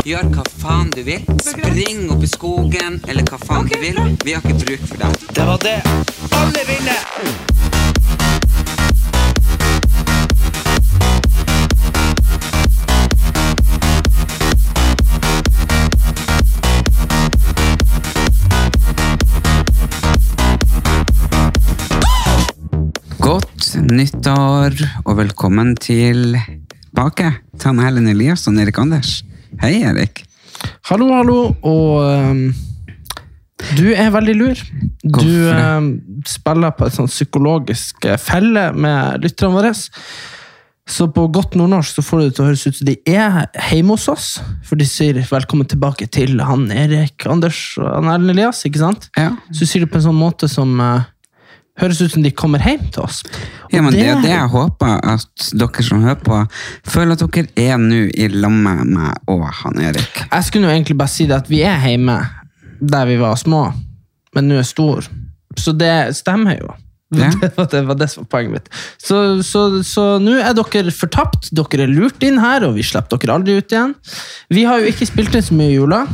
Gjør hva faen du vil. Spring opp i skogen, eller hva faen du vil. Vi har ikke bruk for deg. Det var det. Alle vinner! Godt nyttår, og velkommen tilbake. Tanne Helen Eliasson, Erik Anders. Hei, Erik. Hallo, hallo, og ehm, du er veldig lur. Du Hvorfor det? ehm, spiller på et sånn psykologisk eh, felle med lytterne våre. Så på godt nordnorsk så får det til å høres ut som de er hjemme hos oss. For de sier 'velkommen tilbake til han Erik Anders og han Erlend Elias'. ikke sant? Ja. Så sier de på en sånn måte som eh, høres ut som de kommer hjem til oss. Og Ja, men det er det jeg håper at dere som hører på, føler at dere er nå i lag med meg og han Erik. Jeg skulle jo egentlig bare si det at vi er hjemme der vi var små, men nå er stor. Så det stemmer jo. Ja. Det, var, det var det som var poenget mitt. Så så- så nå er dere fortapt, dere er lurt inn her, og vi slipper dere aldri ut igjen. Vi har jo ikke spilt inn så mye i jula.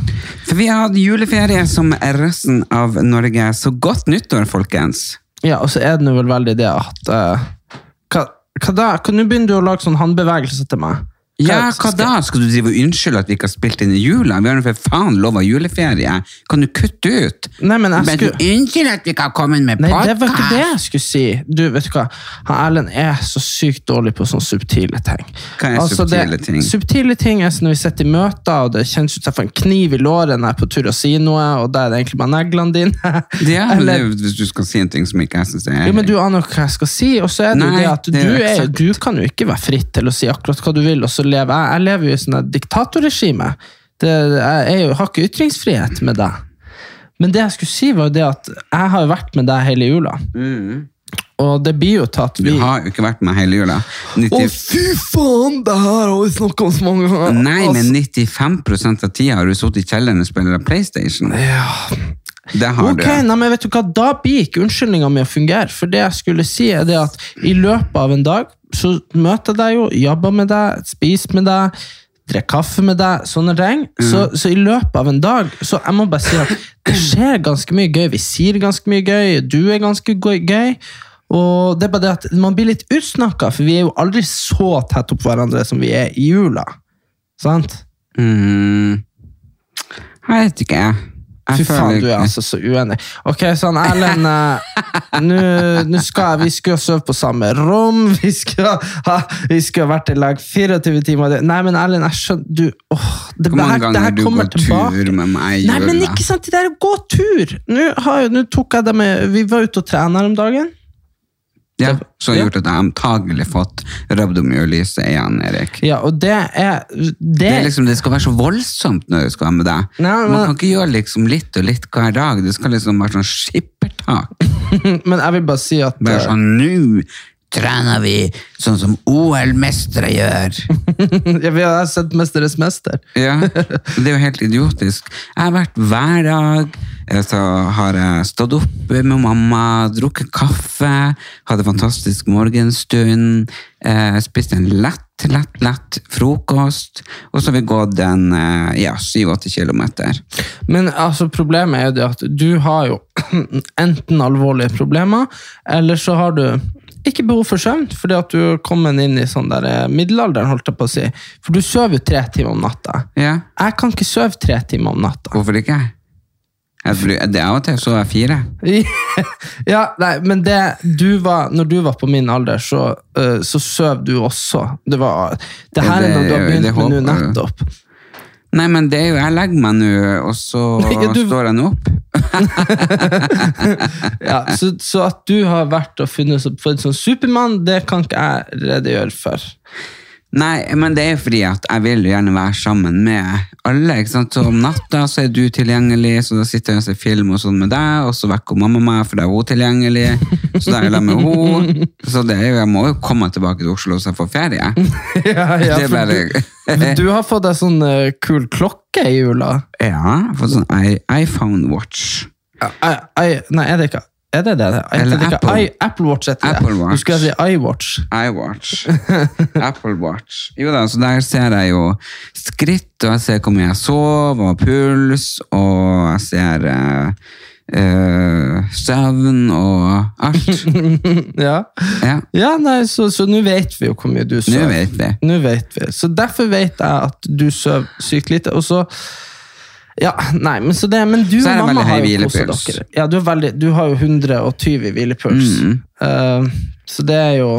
For vi har hatt juleferie som resten av Norge, så godt nyttår, folkens. Ja, og så er det nå vel veldig det at eh, hva, hva da? Kan- Nå begynner du å lage sånn håndbevegelse til meg. Ja, hva da? Skal du drive og unnskylde at vi ikke har spilt inn i jula? Vi har nå for faen lov av juleferie. Kan du kutte ut? Nei, men jeg Men du skulle- unnskyld at vi ikke har kommet med Nei, det var ikke det podcast. jeg skulle si. Du, vet du hva? Han Erlend er så sykt dårlig på sånne subtile ting. Altså, Hva er subtile det, ting? Subtile ting er sånn når vi sitter i møter, og det kjennes ut som jeg får en kniv i låret når jeg er på tur å si noe, og da er det egentlig bare neglene dine. Ja, men det Eller- er jo hvis du skal si en ting som ikke jeg synes er... jo, men du aner jo hva jeg skal si, og så er det jo Nei, det at det er du, jo er, eksakt. du kan jo ikke være fritt til å si akkurat hva du vil, og så lever jeg. Jeg lever jo i sånn et diktatorregime. Det, jeg er jo, har ikke ytringsfrihet med deg. Men det jeg skulle si var jo det at jeg har jo vært med deg hele jula, og det blir jo til at Mm. Du vi... har jo ikke vært med hele jula. 90... Å, fy faen! Det her har vi snakka om så mange ganger. Nei, men Altså, 95 av tida har du sittet i kjelleren og spiller PlayStation. Det har Ok, nei, men vet du hva? Da blir ikke unnskyldninga mi å fungere. For det jeg skulle si, er det at i løpet av en dag så møter jeg deg jo, jobber med deg, spiser med deg, drikker kaffe med deg, sånne ting. Så, Mm. så i løpet av en dag Så jeg må bare si at det skjer ganske mye gøy. Vi sier ganske mye gøy, du er ganske gøy. gøy. Og det er bare det at man blir litt utsnakka, for vi er jo aldri så tett opp hverandre som vi er i jula. Sant? du. Mm. Jeg vet ikke, jeg. Fy Jeg faen, føler- du er altså så uenig. Ok, sånn, Erlend eh, nå- nå skal jeg- Vi skulle jo sove på samme rom, vi skulle ha, vi skulle ha vært i lag 24 timer Nei, men Erlend, jeg skjønner du, åh, det, Hvor mange her, det ganger her du kommer går tilbake. tur med meg i Nei, men jula? ikke sant, det der å gå tur! Nå, har, jo- nå tok jeg det med Vi var ute og trena her om dagen. Ja, så har Ja. gjort at jeg antagelig fått rabdomyolyse igjen, Erik. Ja, og det er Det, Det, er liksom, det skal være så voldsomt når du skal være med deg. Nei, men- Man kan ikke gjøre liksom litt og litt hver dag. Det skal liksom være sånn skippertak. liksom- Men jeg vil bare si at Bare eh, sånn, nå trener vi sånn som OL-mestere gjør. sånn. ja, Vi har sett 'Mesternes mester'. Ja, det er jo helt idiotisk. Jeg har vært hver dag, eh, så har jeg stått opp med mamma, drukket kaffe, hadde fantastisk morgenstund, eh, spist en lett, lett, lett frokost, og så har vi gått en, eh, ja, 7-8 kilometer. Men altså, problemet er jo det at du har jo enten alvorlige problemer, eller så har du ikke behov for søvn, fordi at du er kommet inn i sånn der eh, middelalderen, holdt jeg på å si. For du sover jo tre timer om natta. Ja, Jeg kan ikke sove tre timer om natta. hvorfor ikke? Jeg, bru- det er av og til så er jeg fire. ja, nei, men det du var, når du var på min alder, så, eh, så sov du også. Det var, det Ja, her er det- noe du har det begynt med nå håper jeg. nettopp. Nei, men det er jo, jeg legger meg nå, og så Ja, du- står jeg nå opp. Ja, så, så at du har vært og funnet så- fått sånn Supermann, det kan ikke jeg redegjøre for. Nei, men det er jo fordi at jeg vil jo gjerne være sammen med alle. ikke sant? Så om natta så er du tilgjengelig, så da sitter jeg og ser film og sånn med deg, og så vekker mamma meg, for da er hun tilgjengelig. Så da er jeg sammen med henne. Så det er jo, jeg må jo komme tilbake til Oslo så jeg får ferie. Ja, ja, Det er for bare- du, du har fått ei sånn eh, kul klokke i jula. Ja, jeg har fått sånn i- iPhone Watch. I, I, nei, er det ikke er det det? Jeg Eller heter det ikke Apple. I, Apple Watch heter det. Apple Watch. Du skulle si iWatch. iWatch. Apple Watch. Jo da, så der ser jeg jo skritt, og jeg ser hvor mye jeg sov, og puls, og jeg ser eh, eh, søvn og alt. Ja, Ja, ja nei, så så nå vet vi jo hvor mye du nå sover. vet vi. Nå vet vi. Så derfor vet jeg at du sover sykt lite. Og så Ja, nei, men så det Men du Så er det og mamma veldig høy har jo koset hvilepuls. dere. Ja, du, er veldig, du har jo 120 i hvilepuls. Mm. Eh, så det er jo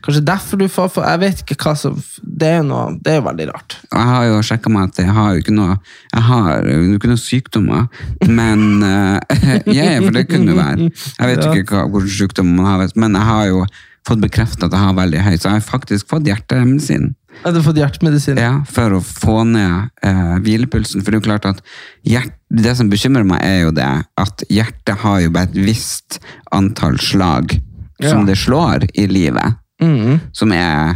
Kanskje derfor du får for Jeg vet ikke hva som Det er jo noe Det er jo veldig rart. Jeg har jo sjekka meg at jeg har jo ikke noe Jeg har jo ikke noe sykdommer, men eh, Ja, ja, for det kunne det være. Jeg vet ikke hva, hvilke sykdommer man har, men jeg har jo fått bekrefta at jeg har veldig høy, så jeg har faktisk fått hjertemedisin. Har du fått hjertemedisin? Ja, for å få ned eh, hvilepulsen. For det er jo klart at hjert, det som bekymrer meg, er jo det at hjertet har jo bare et visst antall slag som Ja. det slår i livet. Mhm. Som er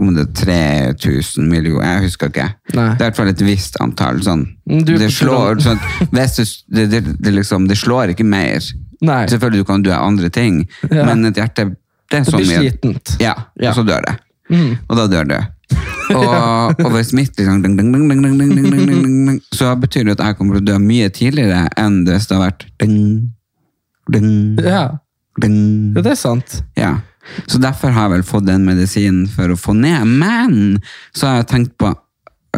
om det er 3000 millioner, jeg husker ikke. Nei. Det er i hvert fall et visst antall. Sånn. Mm, du- det slår sånn, at hvis du, det, det, det, liksom, det slår ikke mer. Nei. Selvfølgelig du kan du ha andre ting, Ja. men et hjerte det er Det så blir sånn mye. slitent. Ja, Ja. Mm. og så dør det. Og da dør du. Og, og hvis mitt liksom, ding, ding, ding, ding, ding, ding, ding, ding, ding, ding, Så betyr det at jeg kommer til å dø mye tidligere enn hvis det har vært ding, ding, Ja. ding. ja, det er sant. Ja. Så derfor har jeg vel fått den medisinen for å få ned. Men så har jeg tenkt på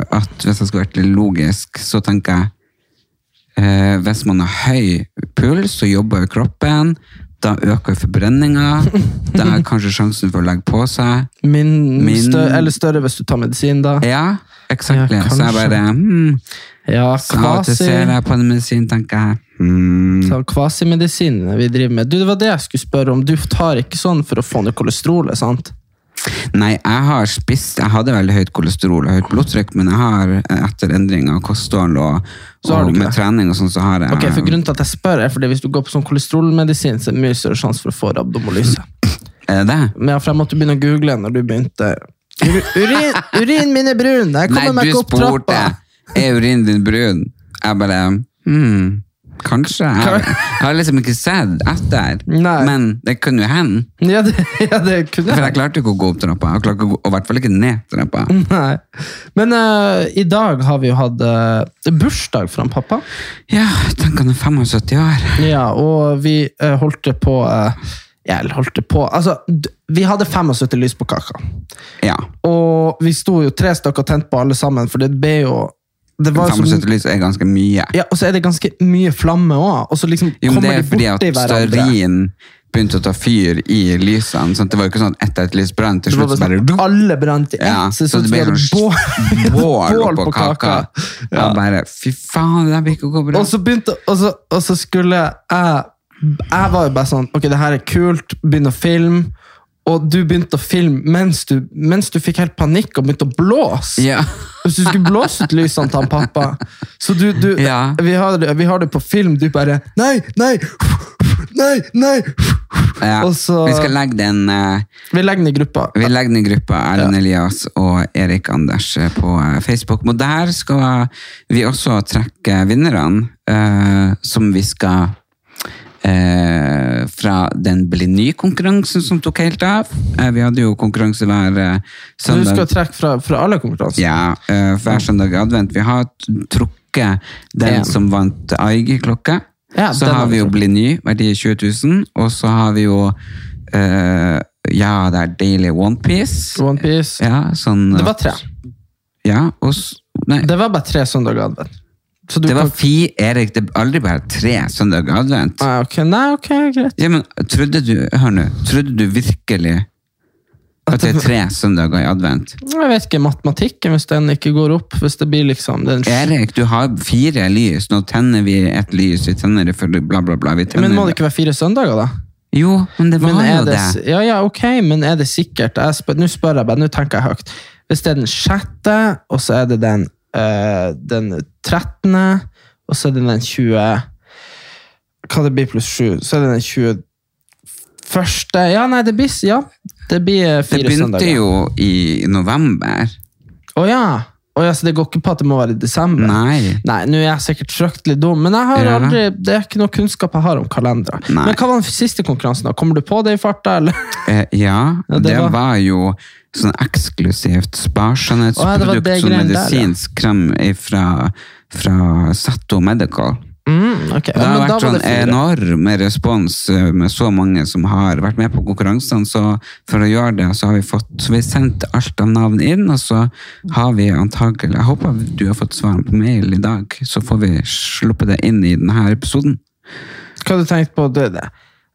at hvis jeg skal være litt logisk, så tenker jeg eh, hvis man har høy puls, så jobber jo kroppen. Da øker forbrenninga. Da er kanskje sjansen for å legge på seg. Min, Min- Større, eller større hvis du tar medisin, da. Ja, eksakt. Ja, så jeg kanskje. bare hmm, Ja, Så av og til kvasi, ser jeg på den medisinen, tenker jeg hmm, så kvasimedisinene vi driver med. Du, Det var det jeg skulle spørre om. Du tar ikke sånn for å få ned kolesterolet, sant? Nei, jeg har spist Jeg hadde veldig høyt kolesterol og høyt blodtrykk, men jeg har eh, etter endring av kosthold og, Så har du og ikke med det. trening og sånn, så har jeg Ok, for grunnen til at jeg spør er fordi Hvis du går på sånn kolesterolmedisin, så er det mye større sjanse for å få rabdomolyse. Er eh, det det? Men ja, for jeg måtte begynne å google når du begynte. Ur- Urin, urinen min er brun! Jeg Nei, kommer meg du ikke opp spurte trappa! Er urinen din brun? Jeg bare hmm, Kanskje. Jeg, jeg har liksom ikke sett etter, Nei. men det kunne jo hende. Ja, det, ja, Mm. det kunne For jeg klarte ikke å gå opp trappa, jeg klarte ikke å gå- og i hvert fall ikke ned trappa. Nei. Men eh, i dag har vi jo hatt eh, bursdag fra en pappa. Ja, tenk han er 75 år. Ja, og vi eh, holdt det på eh, Ja, eller holdt det på Altså, d- vi hadde 75 lys på kaka. Ja. Og vi sto jo tre stykker og tente på alle sammen, for det ble jo det var jo så, 75 lys er ganske mye. ja, Og så er det ganske mye flamme òg. Og så liksom Jo, men det kommer er de fordi at borti hverandre. stearin begynte å ta fyr i lysene. Sant? Det var jo ikke sånn at etter et lys brant, til Det var slutt så bare bare sånn, alle brant i ett. Ja, så det så så ut det som vi ble hadde sånn bål, bål bål oppå kaka. Ja. bare, fy faen, det der vil ikke gå bra. Og så begynte Og så, og så skulle jeg Jeg var jo bare sånn Ok, det her er kult. Begynn å filme. Og du begynte å filme mens du, mens du fikk helt panikk og begynte å blåse. Ja. Hvis du skulle blåse ut lysene til han pappa. Så du, du Ja. vi, har, det- vi har det på film. Du bare Nei, nei! Nei, nei! Ja. Og så Vi skal legge den, eh, Vi legger den i gruppa. vi legger den i gruppa Erlend Elias og Erik Anders eh, på eh, Facebook. Og der skal vi også trekke vinnerne, eh, som vi skal eh, fra den Bleny-konkurransen som tok helt av. Eh, vi hadde jo konkurranse hver eh, Så du søndag. skal trekke fra, fra alle konkurranser? Ja, eh, hver søndag i advent. Vi har t- trukket den Ja. som vant AIG-klokka. Ja, så har den har vi vi jo trukket. Bliny, verdi 20 000. Og så har vi jo eh, Ja, det er Daily Onepiece. One Piece. Ja, sånn, Det var tre. Ja, og s- Nei, Det var bare tre søndager advent. Så du det var kan- fi, Erik. Det er aldri bare tre søndag i advent. Nei, ok, nei, ok, greit. Ja, men trodde du Hør nå. Trodde du virkelig at det er tre søndager i advent? Jeg vet ikke, matematikken, hvis den ikke går opp, hvis det blir liksom den Erik, du har fire lys. Nå tenner vi et lys, vi tenner det for bla, bla, bla. Vi tenner Men må det ikke være fire søndager, da? Jo, men det var Men er jo det, det. s- ja, ja, ok, men er det sikkert? Jeg spør, nå spør jeg bare, nå tenker jeg høyt. Hvis det er den sjette, og så er det den, eh, den trettende, og så er det den 20 Hva det blir pluss sju? Så er det den 20 første Ja, nei, det blir, ja, det blir eh, Det fire søndager. begynte jo i november. Å ja. Å ja, så det går ikke på at det må være i desember? Nei. Nei, nå er jeg sikkert fryktelig dum, men jeg har Ja. aldri, det er ikke noe kunnskap jeg har om kalendere. Nei. Men hva var den siste konkurransen? da? Kommer du på det i farta, eller? Eh, ja, Ja, det, det var... var- jo sånn eksklusivt Å, ja, det var sparskjønnhetsprodukt det som greiene der, ja. medisinsk krem fra, fra Satto Medical. Mm, ok. Det Ja, har men da vært var sånn det fire. enorm respons eh, med så mange som har vært med på konkurransene, så for å gjøre det, så har vi fått så vi har sendt alt av navn inn, og så har vi antagelig, jeg håper du har fått svarene på mail i dag, så får vi sluppet det inn i denne episoden. Hva har du tenkt på? Det, det?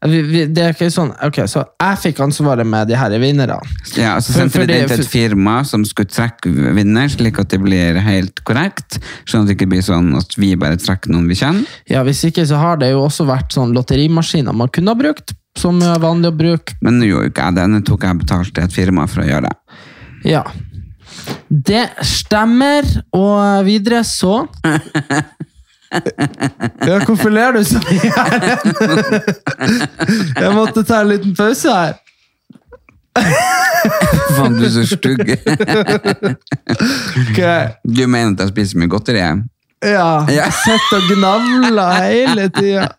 Vi, vi, det er ikke sånn, ok, så jeg fikk ansvaret med de her vinnerne. Ja, så For- sendte vi fordi- det til et for- firma som skulle trekke vinner, slik at det blir helt korrekt, sånn at det ikke blir sånn at vi bare trekker noen vi kjenner. Ja, hvis ikke så har det jo også vært sånn lotterimaskiner man kunne ha brukt, som er vanlig å bruke. Men nå gjorde jo ikke jeg det, nå tok jeg betalt til et firma for å gjøre det. Ja. Det stemmer, og videre så... Ja, hvorfor ler du så mye her? Jeg måtte ta en liten pause her. Faen, du er så stygg. Ok, Du mener at jeg spiser mye godteri? jeg? ja. Ja. Sett og gnavla hele tiden.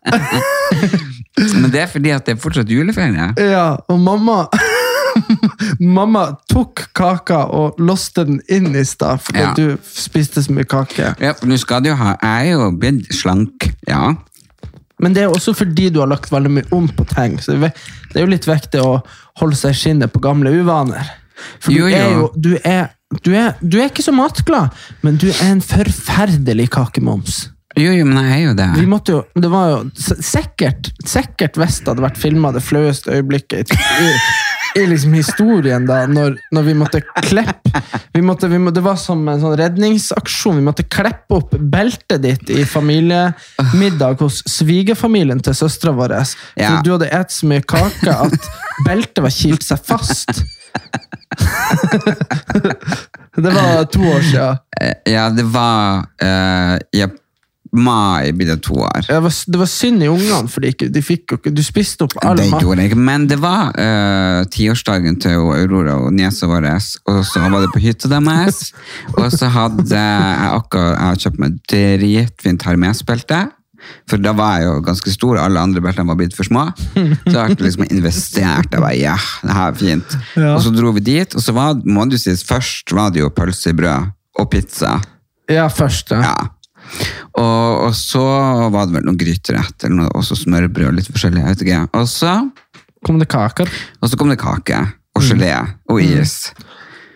Men det er fordi at det er fortsatt juleferie. Ja, og mamma Mamma tok kaka og låste den inn i stad fordi Ja. du spiste så mye kake. Ja, for nå skal du jo ha Jeg er jo blitt slank, ja. Men det er jo også fordi du har lagt veldig mye om på ting. Så det er ve- det er jo litt viktig å holde seg i skinnet på gamle uvaner. For Jo, du jo. er jo du er, du, er, du er ikke så matglad, men du er en forferdelig kakemoms. Jo, jo, men jeg er jo det. Vi måtte jo, det var jo s- sikkert, sikkert hvis det hadde vært filma det flaueste øyeblikket i, i, i liksom historien, da, når, når vi måtte klippe vi måtte, vi må, Det var som en sånn redningsaksjon. Vi måtte klippe opp beltet ditt i familiemiddag hos svigerfamilien til søstera vår. Ja. Du hadde et så mye kake at beltet var kilt seg fast. det var to år siden. Eh, Ja, det var eh, ja, mai blir det to år. Det var, det var synd i ungene, for de, ikke, de fikk jo ikke Du spiste opp all Det mat. gjorde jeg ikke, men det var eh, tiårsdagen til jo Aurora og niesa vår, og så var det på hytta deres. Og så hadde jeg akkurat jeg hadde kjøpt meg dritfint Hermes-belte. For da var jeg jo ganske stor, alle andre beltene var blitt for små. Så jeg ble liksom investert. Jeg bare, ja, det her er fint. Og så dro vi dit, og så var, må du sies, først var det jo pølsebrød og pizza. Ja, først. Ja. Ja. Og, og så var det vel noen gryterett eller noe, og så smørbrød og litt forskjellig. Jeg vet ikke. Og så, Kom det kaker? og så kom det kake og gelé og is.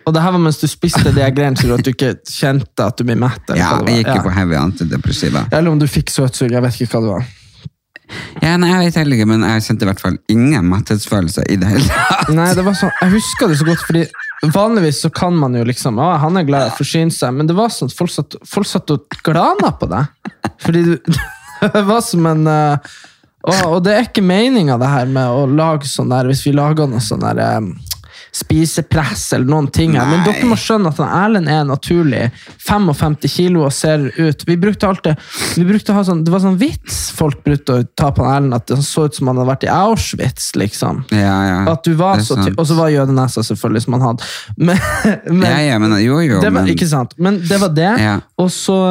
Og det her var mens du spiste de her greiene, så du ikke kjente at du ble mett? Eller, Ja, hva jeg det var. gikk jo på heavy antidepressiva. eller om du fikk søtsug. Jeg vet ikke hva det var. Ja, nei, jeg vet heller ikke, men jeg kjente i hvert fall ingen metthetsfølelse i det hele tatt. Nei, det var sånn, Jeg husker det så godt, fordi vanligvis så kan man jo liksom Å, han er glad i å forsyne seg, men det var sånn at folk satt, folk satt og glana på deg. Fordi du Det var som en eh, å, Og det er ikke meninga, det her med å lage sånn der Hvis vi lager noe sånn der eh, spisepress eller noen ting her, men Nei. dere må skjønne at han Erlend er naturlig 55 kilo og ser ut Vi brukte alltid vi brukte å ha sånn, Det var sånn vits folk brukte å ta på han Erlend, at han så ut som han hadde vært i Auschwitz, liksom. Ja, ja. At du var det er så sant. ty- Og så var jødenesa selvfølgelig som han hadde. Men, men, ja, ja, men jo, jo, det var, men, Ikke sant? Men det var det. Ja. Og så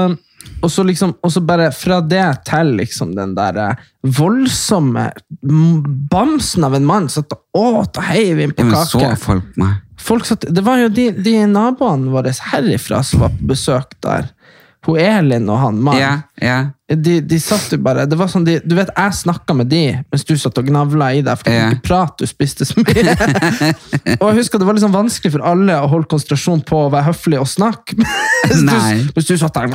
og så liksom, og så bare fra det til liksom den der eh, voldsomme m- bamsen av en mann satt og åt og heiv inn ja, på men så kake. folk meg. Folk satt, det var jo de, de naboene våre herifra som var på besøk der. Hun Elin og han mannen. Ja, ja. De, de satt jo bare det var sånn de, Du vet, jeg snakka med de mens du satt og gnavla i deg. For du Ja. kunne ikke prate, du spiste så mye. og jeg husker Det var liksom vanskelig for alle å holde konsentrasjon på å være høflig og snakke. mens, Nei. du, mens du satt der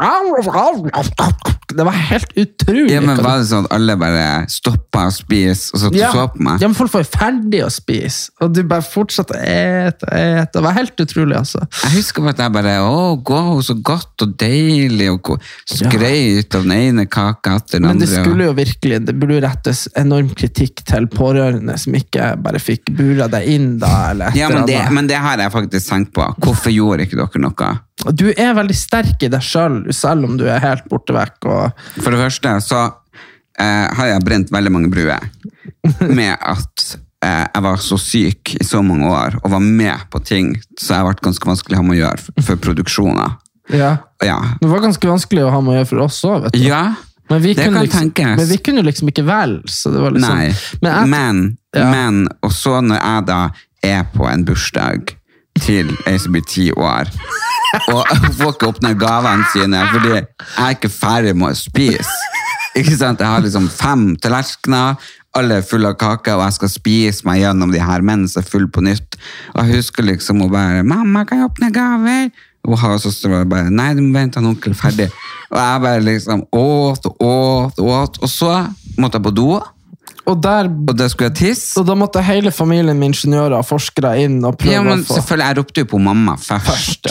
Det var helt utrolig. Ja, men hva- var det sånn at alle bare stoppet og spiste, og så ja. så på meg? ja, men folk var jo ferdig å spise, og du bare fortsatte å ete og ete. Det var helt utrolig, altså. Jeg husker bare at jeg bare Å, gå, så godt og deilig, og ko- skrøt av den ene ene kaka etter den Men det andre. og- skulle jo virkelig, det burde jo rettes enorm kritikk til pårørende som ikke bare fikk bura deg inn da, eller et Ja, men eller det, annet. men det har jeg faktisk tenkt på. Hvorfor gjorde ikke dere noe? Du er veldig sterk i deg selv, selv om du er helt borte vekk. Og, For det første så eh, har jeg brent veldig mange bruer med at eh, jeg var så syk i så mange år og var med på ting, så jeg ble ganske vanskelig å ha med å gjøre for, for produksjoner. ja. Ja. Det var ganske vanskelig å ha med å gjøre for oss òg, vet du. ja Men vi, det kunne kan liksom, tenkes. men vi kunne liksom ikke velge, så det var liksom Nei, Men jeg- men, men, Ja. og så når jeg da er på en bursdag til ei som blir ti år, og hun får ikke åpne gavene sine fordi jeg er ikke ferdig med å spise. Ikke sant? Jeg har liksom fem tallerkener, alle er fulle av kake, og jeg skal spise meg gjennom de her mens jeg er full på nytt. Og jeg husker liksom hun bare 'Mamma, kan jeg åpne gaver?' Og hun og søstera var bare 'Nei, du må vente til onkel er ferdig'. Og jeg bare liksom åt og åt og åt. Og så måtte jeg på do. Og, der, Og da skulle jeg tisse. og da måtte hele familien med ingeniører og forskere inn og prøve Ja, men å få selvfølgelig, jeg ropte jo på mamma først.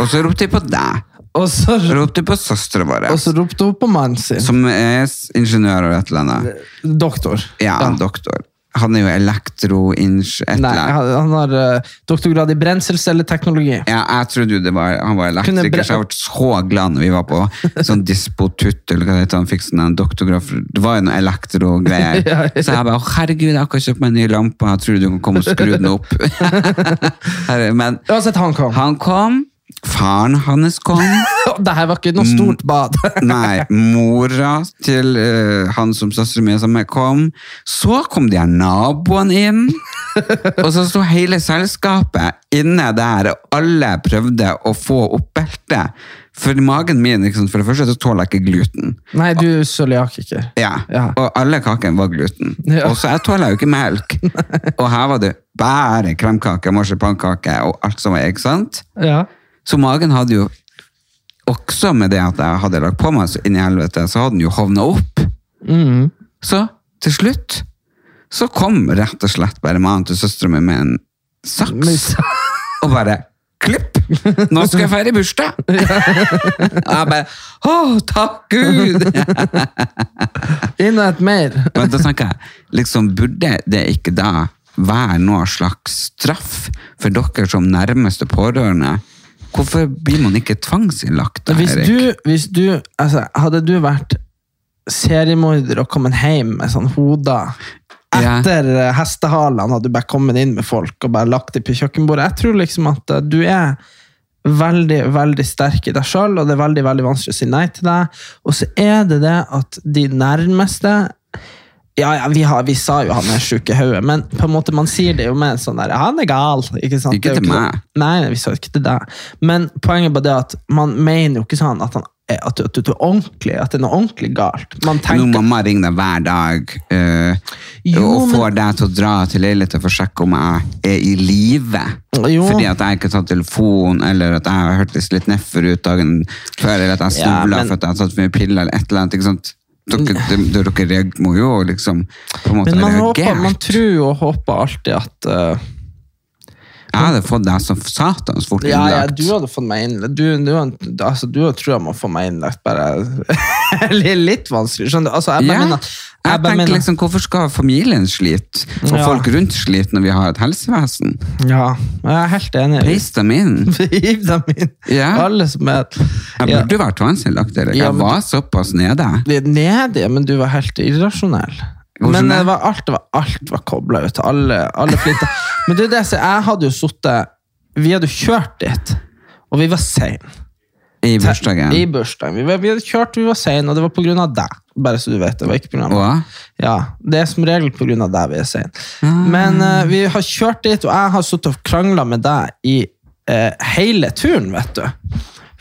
Og så ropte jeg på deg. Og så, Jeg ropte på søstera vår, og så ropte hun på mannen sin. som er s- ingeniør og et eller annet. Doktor. Ja, doktor. Han er jo elektroinge... Et Nei, eller annet. han han har eh, doktorgrad i brenselcelleteknologi. Ja, jeg trodde jo det var, han var Kunne bre- elektriker, så jeg ble så glad når vi var på sånn dispotutt, eller hva det heter, han fikk sånn en doktorgraf, det var jo noe elektrogreier. Så jeg bare, «Å, herregud, jeg har ikke kjøpt meg en ny lampe, jeg tror du kan komme og skru den opp. Herre, Men Uansett, han kom. han kom, faren hans kom, Det her var ikke noe Mm. stort bad. nei, mora til eh, han som søster min som jeg kom, så kom de her naboene inn, og så sto hele selskapet inne der, og alle prøvde å få opp beltet, for magen min, ikke sant, for det første så tåler jeg ikke gluten. Nei, du er cøliakiker. Ja. Ja. og alle kakene var gluten. Ja. Og så jeg tåler jo ikke melk. Og her var det bare kremkake, marsipankake og alt som var, ikke sant? Ja. Så magen hadde jo også med det at jeg hadde lagt på meg så inn i helvete, så hadde den jo hovna opp. Så til slutt så kom rett og slett bare mannen til søstera mi med en saks og bare Klipp! Nå skal jeg feire bursdag! Og jeg bare Å, takk Gud! Inn og et mer. Men da tenker jeg liksom Burde det ikke da være noe slags straff for dere som nærmeste pårørende? Hvorfor blir man ikke tvangsinnlagt? da, Hvis Erik? du, hvis du altså, Hadde du vært seriemorder og kommet hjem med sånn hoder Ja. etter eh, hestehalene, hadde du bare kommet inn med folk og bare lagt dem på kjøkkenbordet. Jeg tror liksom at eh, du er veldig, veldig sterk i deg sjøl, og det er veldig, veldig vanskelig å si nei til deg. Og så er det det at de nærmeste ja, ja, vi, har, vi sa jo han er sjuk i hodet, men på en måte man sier det jo med en sånn der Han er gal! Ikke, sant? Ikke Det er jo til sånn- meg. Nei, nei, vi sa jo ikke til deg. Men poenget er bare det at man mener jo ikke sånn at, han, er- at, du- at, du er ordentlig, at det er noe ordentlig galt. Man Nå tenker mamma ringer deg hver dag eh, Jo, og men- får deg til å dra til leiligheten for å sjekke om jeg er i live. Jo. Fordi at jeg ikke har tatt telefon, eller at jeg har hørtes litt nedfor ut dagen før, eller at jeg Ja, snubla men- for Mm. at jeg har tatt for mye piller, eller et eller annet. ikke sant? Dere, de- dere reag- må jo liksom på en måte Men man, håper, reagere. man tror jo og håper alltid at eh, Jeg hadde fått deg som satans fort ja, ja, innlagt. du hadde fått meg innlagt. Du, du, altså, du tror jeg må få meg innlagt, bare Litt- Litt vanskelig, skjønner du? Altså, jeg bare Ja. mener Jeg bare tenker mener- liksom, Hvorfor skal familien slite, og Ja. folk rundt slite, når vi har et helsevesen? Ja, jeg er helt enig. Reis dem inn. Hiv dem inn. Ja. Alle som er Jeg ja. burde jo vært tvangsinnlagt, Erik. Ja, Jeg men var såpass nede. Det er Nede, men du var helt irrasjonell. Hvordan Men det? det var, alt var, alt var kobla ut. Alle, alle flytta. men du, det, så jeg hadde jo sittet Vi hadde jo kjørt dit, og vi var seine. I bursdagen. I bursdagen. Vi, var, vi hadde kjørt, vi var seine, og det var på grunn av deg. Bare så du vet, det var ikke på grunn av meg. Og Ja, det er som regel på grunn av deg vi er sein. Ah. Men eh, vi har kjørt dit, og jeg har suttet og krangla med deg i eh, hele turen, vet du.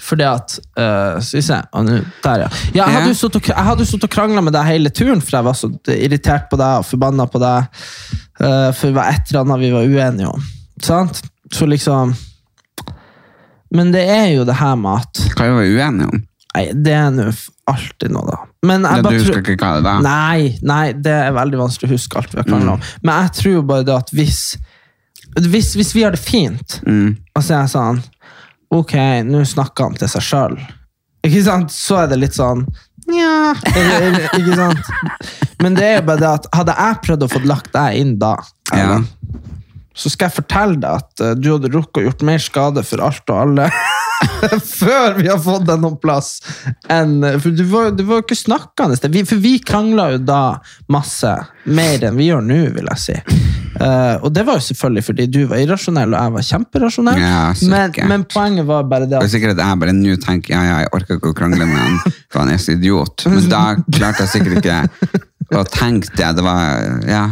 Fordi at eh, Skal vi se å, nå- Der, ja. ja jeg hadde Ja. jo suttet og kr- jeg hadde jo suttet og krangla med deg hele turen, for jeg var så irritert på deg og forbanna på deg. eh, for det var et eller annet vi var uenige om. Sant? Så liksom Men det er jo det her med at hva var vi uenige om? Nei, det er nå f- alltid noe, da. Men jeg Det, du bare tror- husker ikke hva det var? Nei, nei, det er veldig vanskelig å huske alt vi har krangla om. Men jeg tror jo bare det at hvis Hvis, hvis vi har det fint, og så er jeg sånn Ok, nå snakker han til seg sjøl. Ikke sant? Så er det litt sånn Nja eller, eller, Ikke sant? Men det er jo bare det at hadde jeg prøvd å få lagt deg inn da, Ja. så skal jeg fortelle deg at eh, du hadde rukket å gjort mer skade for alt og alle før vi har fått deg noen plass. enn- for du var, du var jo ikke snakkende. til- Vi, for vi krangla jo da masse. Mer enn vi gjør nå, vil jeg si. Eh, og det var jo selvfølgelig fordi du var irrasjonell, og jeg var kjemperasjonell. Ja, men, sikkert. men poenget var bare det Det at er sikkert at jeg bare nå tenker ja, ja, jeg orker ikke å krangle med han, for han er så idiot. Men da klarte jeg sikkert ikke å tenke det. Det var Ja.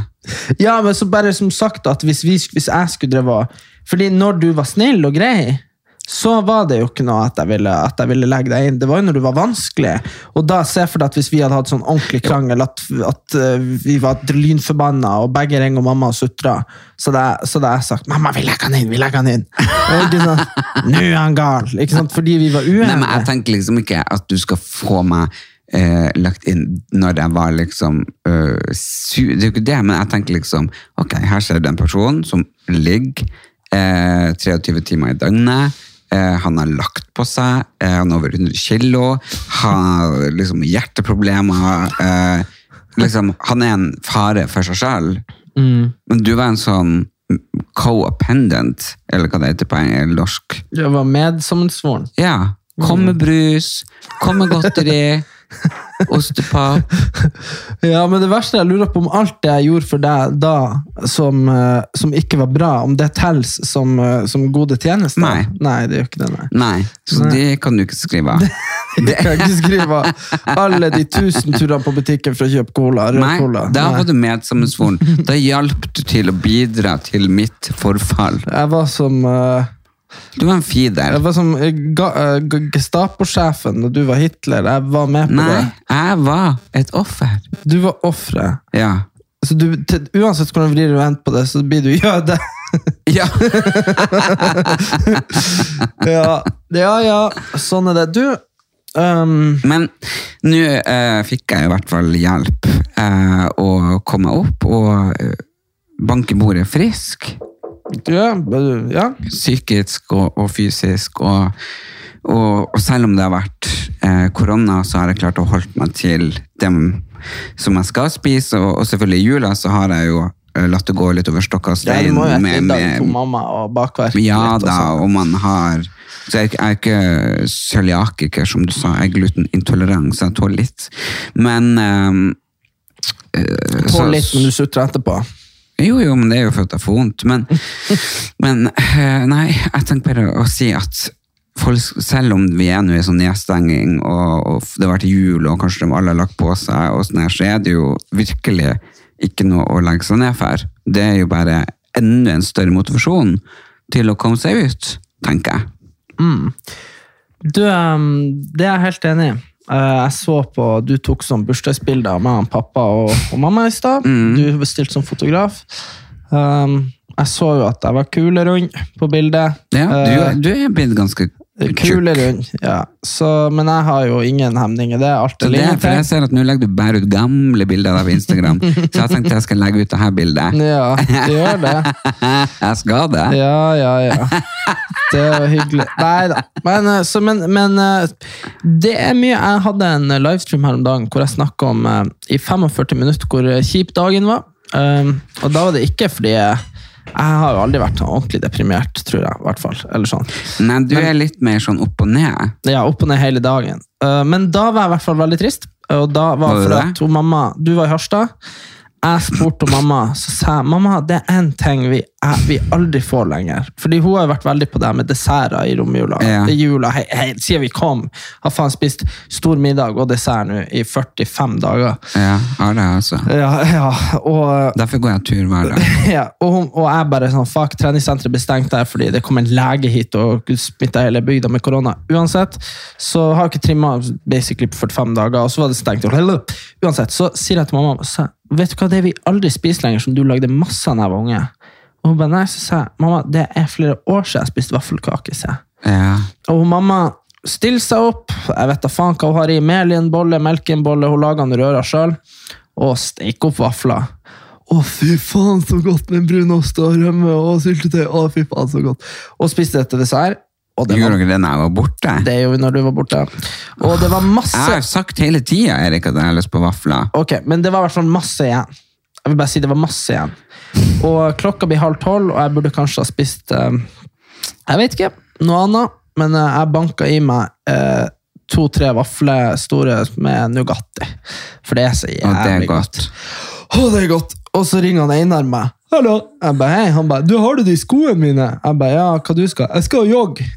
Ja, men så bare som sagt at hvis, vi, hvis jeg skulle dreve og- Fordi når du var snill og grei, så var det jo ikke noe at jeg ville, at jeg ville legge deg inn. Det var jo når du var vanskelig. Og da se for deg at hvis vi hadde hatt sånn ordentlig krangel, at, at eh, vi var lynforbanna, og begge ringer mamma og sutra, så hadde jeg- så hadde jeg sagt 'Mamma, vi legger han inn! Vi legger han inn!' Og ikke sant? Nå er han gal! Ikke sant? Fordi vi var uenige. Nei, men jeg tenker liksom ikke at du skal få meg eh, lagt inn når jeg var liksom øh, su Det er jo ikke det, men jeg tenker liksom Ok, her ser du en person som ligger eh, 23 timer i døgnet. eh, Han har lagt på seg, eh, han er over 100 kilo, han har liksom hjerteproblemer. eh, Liksom, han er en fare for seg selv. Men du var en sånn co-appendent, eller hva det heter på en- norsk. Jeg var medsammensvoren. Ja. Kom Mm. med brus, kom med godteri, ostepop. Ja, men det verste jeg lurer på om alt det jeg gjorde for deg da, som, eh, som ikke var bra, om det telles som, eh, som gode tjenester? Nei. Nei, det gjør ikke det, nei. Nei, så det kan du ikke skrive av. Det kan jeg ikke skrive av alle de tusen turene på butikken for å kjøpe cola. Rød Nei, cola. da Nei. var du medsammensvoren. Da hjalp du til å bidra til mitt forfall. Jeg var som, eh, Du var en jeg fider. var som eh, ga, eh, g- Gestapo-sjefen da du var Hitler. Jeg var med på Nei, jeg var et offer. det. Du var offeret. Ja. Så du, til, uansett hvordan du vrir og vender på det, så blir du jøde. Ja. ja. ja, ja. Sånn er det. Du ehm, Men nå eh, fikk jeg i hvert fall hjelp eh, å komme opp og eh, banke bordet frisk. ja, b- ja. psykisk og, og fysisk. Og, og, og selv om det har vært eh, korona, så har jeg klart å holde meg til dem som jeg skal spise. Og, og selvfølgelig i jula så har jeg jo eh, latt det gå litt over stokk og Ja, du stein. må jo ha med- middag med- for mamma og bakverk. ja litt og da, sånn. og man har Så jeg, er ikke- jeg er ikke cøliakiker, som du sa. Jeg er glutenintolerant, så jeg tåler litt. Men ehm, eh, Tål så- litt, men du sutrer etterpå. jo, jo, men det er jo for at jeg får vondt. Men, men eh, nei, jeg tenker bare å si at folk, selv om vi er nå i sånn nedstenging, og, og det har vært jul, og kanskje de alle har lagt på seg, og sånn her, så er det jo virkelig ikke noe å legge seg ned for. Det er jo bare enda en større motivasjon til å komme seg ut, tenker jeg. Du, ehm, det er jeg helt enig i. Eh, Jeg så på, Du tok sånn bursdagsbilder av meg og pappa og, og mamma i stad. Mm. Du bestilte som fotograf. Ehm, jeg så jo at jeg var kule rund på bildet. Ja, Eh, du, du er blitt ganske tjukk. Kule rund, ja. Så, men jeg har jo ingen hemninger. Det er alt Så det, det ligner for til. jeg ser at nå legger du bare ut gamle bilder av deg på Instagram, så jeg tenkte jeg skal legge ut dette bildet. Ja, det gjør det. Jeg skal det. Ja, ja, ja. Det var hyggelig. Nei da. Men, eh, så, men, men eh, det er mye Jeg hadde en eh, livestream her om dagen hvor jeg snakka om eh, i 45 minutter hvor eh, kjip dagen var. Um, og da var det ikke fordi jeg, jeg har jo aldri vært sånn ordentlig deprimert, tror jeg. i hvert fall, eller sånn. Nei, du er litt mer sånn opp og ned. Ja, opp og ned hele dagen. Eh, men da var jeg i hvert fall veldig trist. Og da var Var det for det? at hun mamma, Du var i Harstad. Jeg spurte hun mamma, så sa jeg mamma, det er én ting vi, jeg, vi aldri får lenger. Fordi hun har jo vært veldig på det her med desserter i romjula. Ja. I jula, hei, hei, Siden vi kom, har faen spist stor middag og dessert nå i 45 dager. Ja, har det altså. Ja, ja, og Derfor går jeg tur hver dag. ja, og, hun- og jeg bare sånn, fuck, treningssenteret bestengte her fordi det kom en lege hit og smitta hele bygda med korona. Uansett, så har jeg ikke trimma basically på 45 dager, og så var det stengt. Uansett, så sier jeg til mamma, så, vet du hva, det vi aldri spiser lenger som du lagde masse av da jeg var unge. Og hun bare, nei, så sa jeg, mamma, det er flere år siden jeg spiste vaffelkake, sier jeg. Ja. Og hun mamma stiller seg opp. Jeg vet da faen hva hun har i. Mel i en bolle, melk i en bolle. Hun lager den røra sjøl. Og steker opp vafler. Å, fy faen, så godt med brunost og rømme og syltetøy. Å, fy faen, så godt. Og spiste det til dessert. Og det, Gjorde var, dere det når jeg var borte? det gjorde vi når du var borte. Og det var Jeg masse har sagt hele tida Erik, at jeg har lyst på vafler. Ok, men det var i hvert fall masse igjen. Jeg vil bare si det var masse igjen. Og klokka blir halv tolv, og jeg burde kanskje ha spist eh, Jeg vet ikke, noe annet. Men eh, jeg banka i meg eh, to-tre vafler store med Nugatti. For det er så Og det er jævlig godt. godt. Å, det er godt! Og så ringer han Einar meg. Hallo! Jeg ba, hei. Han ba, du har du de skoene mine? Jeg ba, ja, hva du skal? Jeg skal jogge!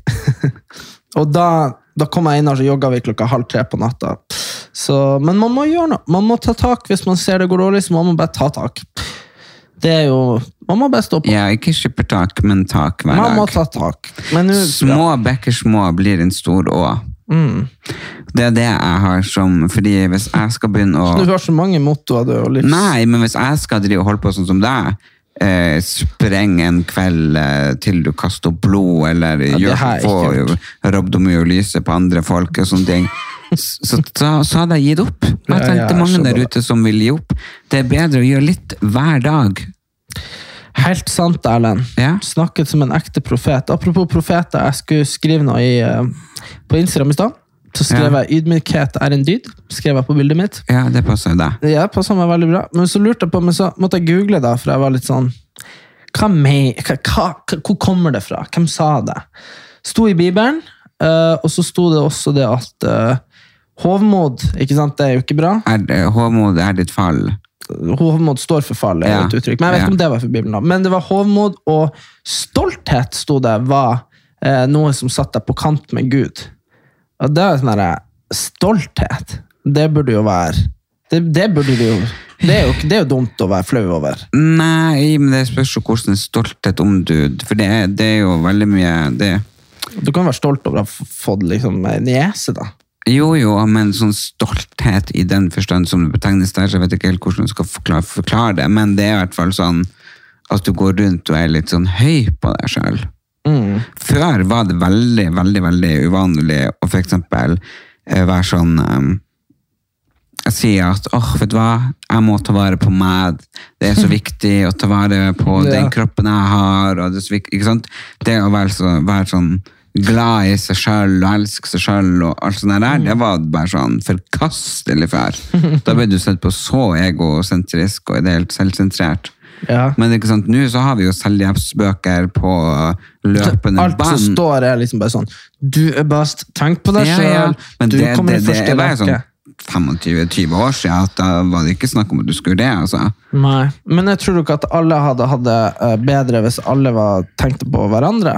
og da, da kom jeg Einar, så jogga vi klokka halv tre på natta. Så, men man må gjøre noe. Man må ta tak hvis man ser det går dårlig, så man må bare ta tak. Det er jo Man må bare stå på. Ja, ikke skippertak, men tak hver man må dag. ta tak. Men nå Små bekker små blir en stor å. Mm. Det er det jeg har som Fordi hvis jeg skal begynne å Du har så mange mottoer, du. Og livs... Nei, men hvis jeg skal drive og holde på sånn som deg, eh, spreng en kveld eh, til du kaster opp blod, eller det gjør har jeg få ikke gjort. rabdomyolyse på andre folk og sånne ting, S- så, så, så hadde jeg gitt opp. Og Ja, jeg jeg tenkte mange skjønner der det. ute som vil gi opp. Det er bedre å gjøre litt hver dag. Helt sant, Erlend. Ja. Snakket som en ekte profet. Apropos profeter, jeg skulle skrive noe i, eh, på Instagram i stad. Så skrev Ja. jeg 'ydmykhet er en dyd'. skrev jeg på bildet mitt. Ja, det passer jo deg. Ja, passet meg veldig bra. Men så lurte jeg på, men så måtte jeg google, da, for jeg var litt sånn hva, me- hva, hva, hva- Hvor kommer det fra? Hvem sa det? Sto i Bibelen, eh, og så sto det også det at eh, hovmod ikke sant, det er jo ikke bra. Er, eh, Håmod er ditt fall. Hovmod står for fall, er jo Ja. et uttrykk. Men jeg vet ikke om det var for Bibelen. da. Men det var hovmod og stolthet, sto det, var eh, noe som satte deg på kant med Gud. Og det er sånn derre Stolthet, det burde jo være Det, det burde du jo det er, jo ikke- det er jo dumt å være flau over. Nei, men det spørs jo hvordan stolthet om du For det er, det er jo veldig mye det, Du kan være stolt over å ha f- fått liksom, en niese, da. Jo, jo, men sånn stolthet i den forstand som det betegnes der, så jeg vet ikke helt hvordan du skal forklare, forklare det, men det er i hvert fall sånn at du går rundt og er litt sånn høy på deg selv. Mm. Før var det veldig, veldig, veldig uvanlig å for eksempel eh, være sånn em, jeg sier at åh, vet du hva, jeg må ta vare på meg. Det er så viktig å ta vare på Ja. den kroppen jeg har. Og det, er så viktig, ikke sant? det å være, så, være sånn glad i seg sjøl og elske seg sjøl og alt sånt der, det var bare sånn forkastelig før. Da ble du sett på så egosentrisk og i det hele tatt selvsentrert. Ja. Men ikke sant, nå så har vi jo selvhjelpsbøker på løpende Alt som bånd. står, er liksom bare sånn Du er best, tenk på deg Ja, sjøl, ja. Men du det, kommer det, i det første er bare sånn rekke. 25-20 år siden at da var det ikke snakk om at du skulle det, altså. Nei, men jeg tror ikke at alle hadde hatt det eh, bedre hvis alle var, tenkte på hverandre.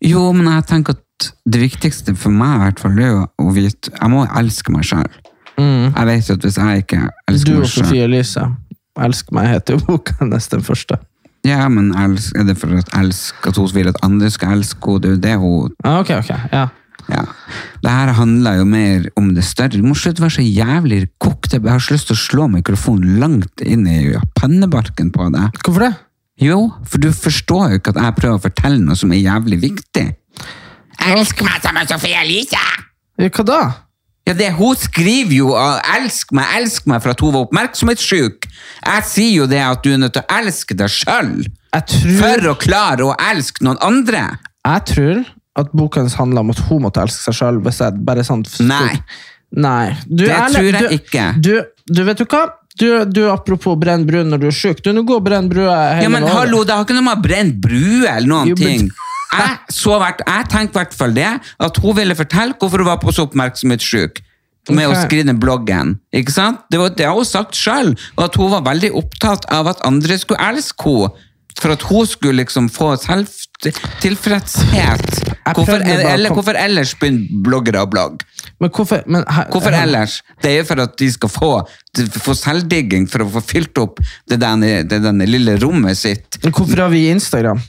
Jo, men jeg tenker at det viktigste for meg i hvert fall er jo å vite Jeg må elske meg sjøl. Jeg vet jo at hvis jeg ikke Du elsker og meg sjøl Sofie Elise. Elsk meg heter jo boka hennes, den første. Ja, men elsk, er det for at, elsk, at hun vil at andre skal elske henne? Det er jo det hun Ja, ok, ok. Ja. Ja. Det her handler jo mer om det større. Du må slutte å være så jævlig kokt. Jeg har så lyst til å slå mikrofonen langt inn i pannebarken på deg. Hvorfor det? Jo, for du forstår jo ikke at jeg prøver å fortelle noe som er jævlig viktig. Jeg elsker meg sammen med Sofie Elise! Ja, Hva da? Ja, det, hun skriver jo uh, 'elsk meg, elsk meg' for at hun var oppmerksomhetssjuk. Jeg sier jo det at du er nødt til å elske deg sjøl Jeg tror, for å klare å elske noen andre. jeg tror at boka hennes handla om at hun måtte elske seg sjøl. Hvis jeg bare sånn Nei. Nei. Du, Det Erle, tror jeg du, ikke. Du, du, vet du hva? Du, du apropos brenn brød når du er sjuk. Du, nå går brenn brød hele Ja, men året. hallo, det har ikke noe med å brenne brue eller noen Jo, men- ting. Jeg, så hvert, jeg tenkte i hvert fall det, at hun ville fortelle hvorfor hun var på så oppmerksomhetssyk med å Ok. skrive den bloggen. Ikke sant? Det, var, det har hun sagt sjøl, og at hun var veldig opptatt av at andre skulle elske henne. For at hun skulle liksom få selvtilfredshet. Hvorfor, prøvde bare å eller kom- hvorfor ellers begynner bloggere å blogge? Men hvorfor, men, her- Hvorfor her- ellers? Det er jo for at de skal få, få selvdigging, for å få fylt opp det denne, det denne lille rommet sitt. Hvorfor har vi Instagram?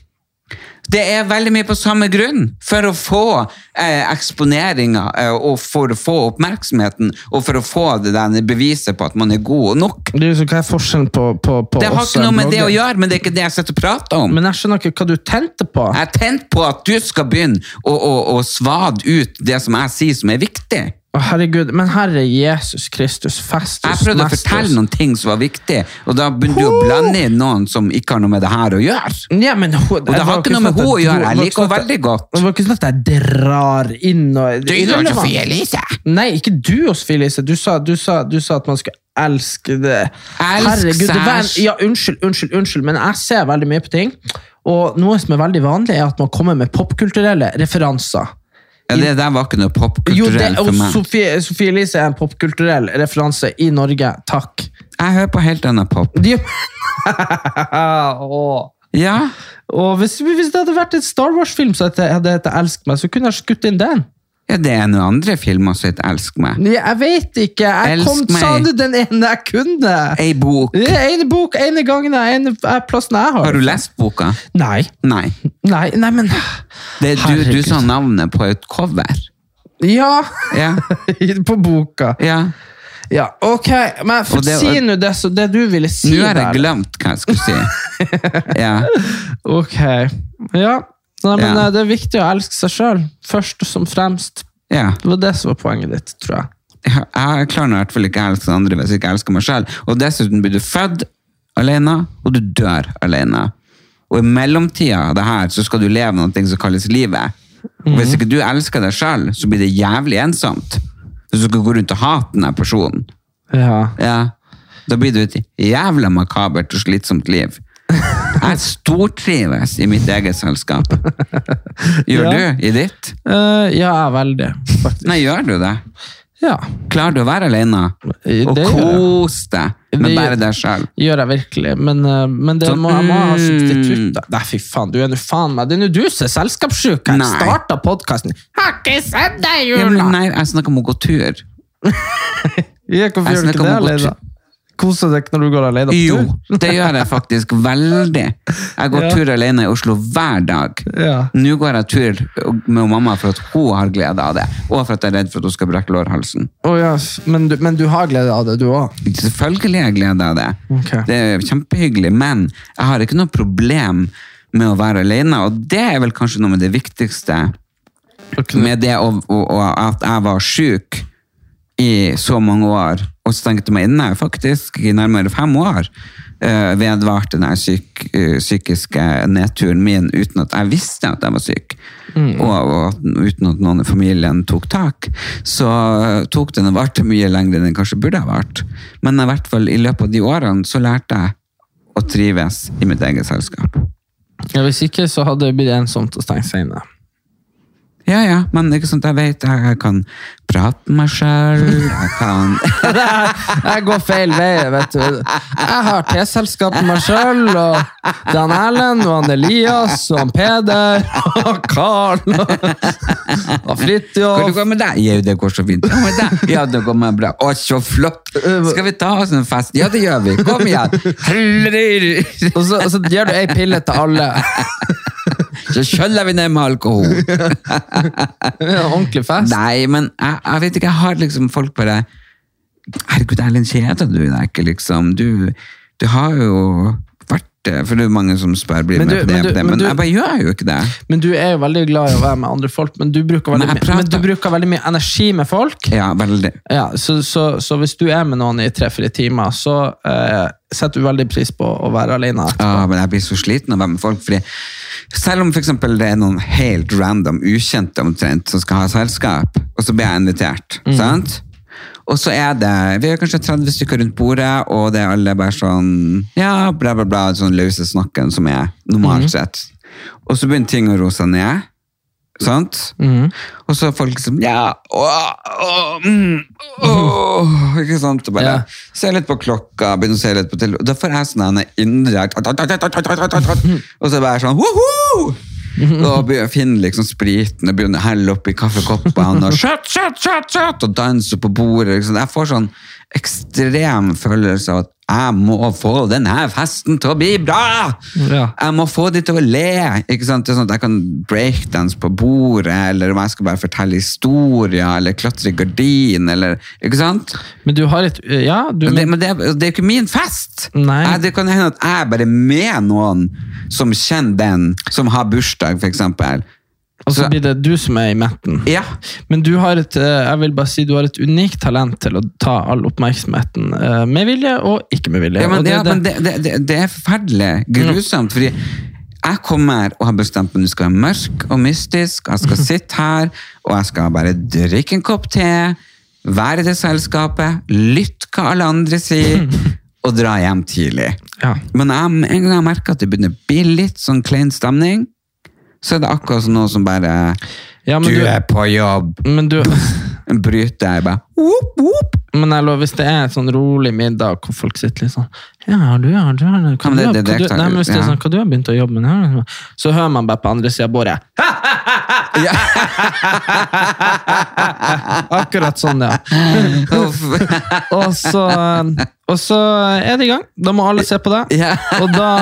Det er veldig mye på samme grunn, for å få eh, eksponeringa eh, og for å få oppmerksomheten, og for å få det der beviset på at man er god nok. Det er jo så, hva er forskjellen på, på, på Det har oss ikke og en noe med det å blogger? gjøre, men det er ikke det jeg sitter og prater om. Men jeg skjønner ikke hva du tente på. Jeg er tent på at du skal begynne å, å, å svade ut det som jeg sier som er viktig. Å, herregud, men herre Jesus Kristus, festus, Jeg prøvde å mestus. fortelle noen ting som var viktig, og da begynte du å blande inn noen som ikke har noe med det her å gjøre. Ja, men hun, det har ikke noe med sånn hun å gjøre, jeg liker henne veldig godt. Det var ikke sånn at jeg drar inn og Du gjør Irrelevant. Sofie Elise. Nei, ikke du og Sofie Elise. Du sa, du, sa, du sa at man skulle elske det. Elsk det var en, særs. ja, unnskyld, unnskyld, unnskyld, men jeg ser veldig mye på ting. Og noe som er veldig vanlig, er at man kommer med popkulturelle referanser. Ja, det der var ikke noe Jo, det, popkulturelt og for meg. Sofie, Sofie Elise er en popkulturell referanse i Norge. Takk. Jeg hører på helt annen pop. De... Åh. Ja, Og hvis, hvis det hadde vært en Star Wars-film som hadde hadde hett 'Elsk meg', så kunne jeg skutt inn den. ja det er noen andre filmer som heter Elsk meg. Nei, Jeg vet ikke. Jeg Elsk kom, sa meg. du den ene jeg kunne? Ei bok. Det er ene bok, ene gangen, jeg- ene eh, plassen jeg har. Har du lest boka? Nei. Nei. Nei, nei, men Det er du, du Herregud. sa navnet på et cover. Ja! Ja, På boka. ja. Ja, ok. Men for, Og det- si nå det, så- det du ville si Nå har jeg der. glemt hva jeg skulle si. Ja. Ok. Ja. Nei, men Ja. eh, det er viktig å elske seg sjøl, først som fremst. ja. Det var det som var poenget ditt, tror jeg. jeg jeg klarer nå i hvert fall ikke å elske andre hvis jeg ikke elsker meg selv. Og dessuten blir du født alene, og du dør alene. Og i mellomtida av det her, så skal du leve noe som kalles livet. Og hvis ikke du elsker deg selv, så blir det jævlig ensomt. Hvis du skal gå rundt og hate denne personen, Ja. ja, da blir det et jævla makabert og slitsomt liv. Jeg stortrives i mitt eget selskap. Gjør Ja. du i ditt? Eh, ja, jeg er veldig, faktisk. Nei, gjør du det? Ja, Klarer du å være alene? Eh, Og det gjør jeg. kose deg Det med gjør- bare deg sjøl. gjør jeg virkelig, men, eh, men det Sånn, må, jeg må ha mm. substitutt. da. Nei, fy faen, du er nå faen meg. Det er nå du som er selskapssjuk. Jeg Nei. starta podkasten. Har ikke sett deg, Ja, jula! men nei, jeg snakker om å gå tur. Jeg kan Jeg gjøre snakker ikke det om å gå alene. Koser deg ikke når du går alene. på Jo, tur. det gjør jeg faktisk veldig. Jeg går Ja. tur alene i Oslo hver dag. Ja. Nå går jeg tur med mamma for at hun har glede av det, og for at jeg er redd for at hun skal brekke lårhalsen. Å, ja. men, du, men du har glede av det, du òg? Selvfølgelig har jeg glede av det. Ok. Det er kjempehyggelig, men jeg har ikke noe problem med å være alene, og det er vel kanskje noe med det viktigste med det og, og, og at jeg var syk i så mange år, og stengte meg inne faktisk i nærmere fem år, eh, vedvarte den her syk, eh, psykiske nedturen min uten at jeg visste at jeg var syk, og, og at- uten at noen i familien tok tak, så eh, tok den og varte mye lenger enn den kanskje burde ha vært. Men i hvert fall i løpet av de årene så lærte jeg å trives i mitt eget selskap. Ja, hvis ikke, så hadde det blitt ensomt å stenge seg inne. Ja, ja, men ikke sant, jeg vet, jeg, jeg kan prate med meg selv, jeg kan... Jeg går feil vei, vet du. Jeg har teselskap med meg sjøl, og Dan Erlend, og han Elias, og han Peder, og Carl, og Hvordan Fridtjof. går det med deg? Jo, det går så fint. Ja, med deg? Ja, det går meg bra. Å, så flott! Skal vi ta oss en fest? Ja, det gjør vi. Kom igjen! Trrrr. Og så, og så gjør du ei pille til alle. Så kjøller vi ned med alkohol. Ordentlig fest. Nei, men jeg, jeg vet ikke, jeg har liksom folk bare Herregud, Erlend, kjeder du deg ikke, liksom? Du, du har jo vært det, for det er jo mange som spør blir du Men med du- på det, men du- på det, men men du- jeg bare gjør jo ikke det. Men du er jo veldig glad i å være med andre folk, men du bruker veldig, Men jeg mye- men du prater. bruker veldig mye energi med folk. Ja, veldig. Ja, så, så, så hvis du er med noen i tre-fire timer, så eh, setter du veldig pris på å være alene. Ja, men jeg blir så sliten av å være med folk, fordi selv om for eksempel det er noen helt random, ukjente omtrent, som skal ha selskap, og så blir jeg invitert, sant? Og så er det, vi er kanskje 30 stykker rundt bordet, og det er alle bare sånn, ja, bla bla bla, sånn løse snakken som er normalt sett. Og så begynner ting å roe seg ned, sant? Og så er folk liksom, ja, åh, åh, mm, åh, ikke sant? Og bare, Ja. se litt på klokka, begynne å se litt på telefonen. Da får jeg sånn en indre Og så bare sånn «Woho!» Da begynner Finn liksom spriten og begynner å helle oppi kaffekoppene og shut, shut, shut, shut, og danse på bordet. Liksom. Jeg får sånn ekstrem følelse av at jeg må få denne festen til å bli bra! Ja. Jeg må få de til å le! ikke sant? Det er sånn at Jeg kan breakdance på bordet, eller om jeg skal bare fortelle historier, eller klatre i gardin, eller ikke sant? Men du har et Ja, du Men det, men det, er- det er jo ikke min fest! Nei. Jeg, det kan hende at jeg bare er med noen som kjenner den, som har bursdag, for eksempel. Og så Så- blir det du som er i midten. Ja. Men du har et eh, jeg vil bare si, du har et unikt talent til å ta all oppmerksomheten eh, med vilje og ikke med vilje. Ja, men, og det, det er ja, det- Mm. men det, det, det, det er forferdelig grusomt, fordi jeg kommer og har bestemt meg, du skal være mørk og mystisk, jeg Mm. skal sitte her, og jeg skal bare drikke en kopp te, være i det selskapet, lytte hva alle andre sier, og dra hjem tidlig. Ja. Men jeg, med en gang jeg merker at det begynner å bli litt sånn klein stemning, så er det akkurat som noe som bare, Ja, men du du- er på jobb, men du, bryter jeg bare, Whoop, whoop. Men jeg lover, hvis det er en sånn rolig middag hvor folk sitter litt sånn Ja, du, ja, du, ja, hva men du, det- har- det- det hva er du, nei, men hvis det er ja. sånn, hva du har begynt å jobbe med ja, Så hører man bare på andre sida av bordet Akkurat sånn, ja. og, så, og så er det i gang. Da må alle se på deg. Ja. Og da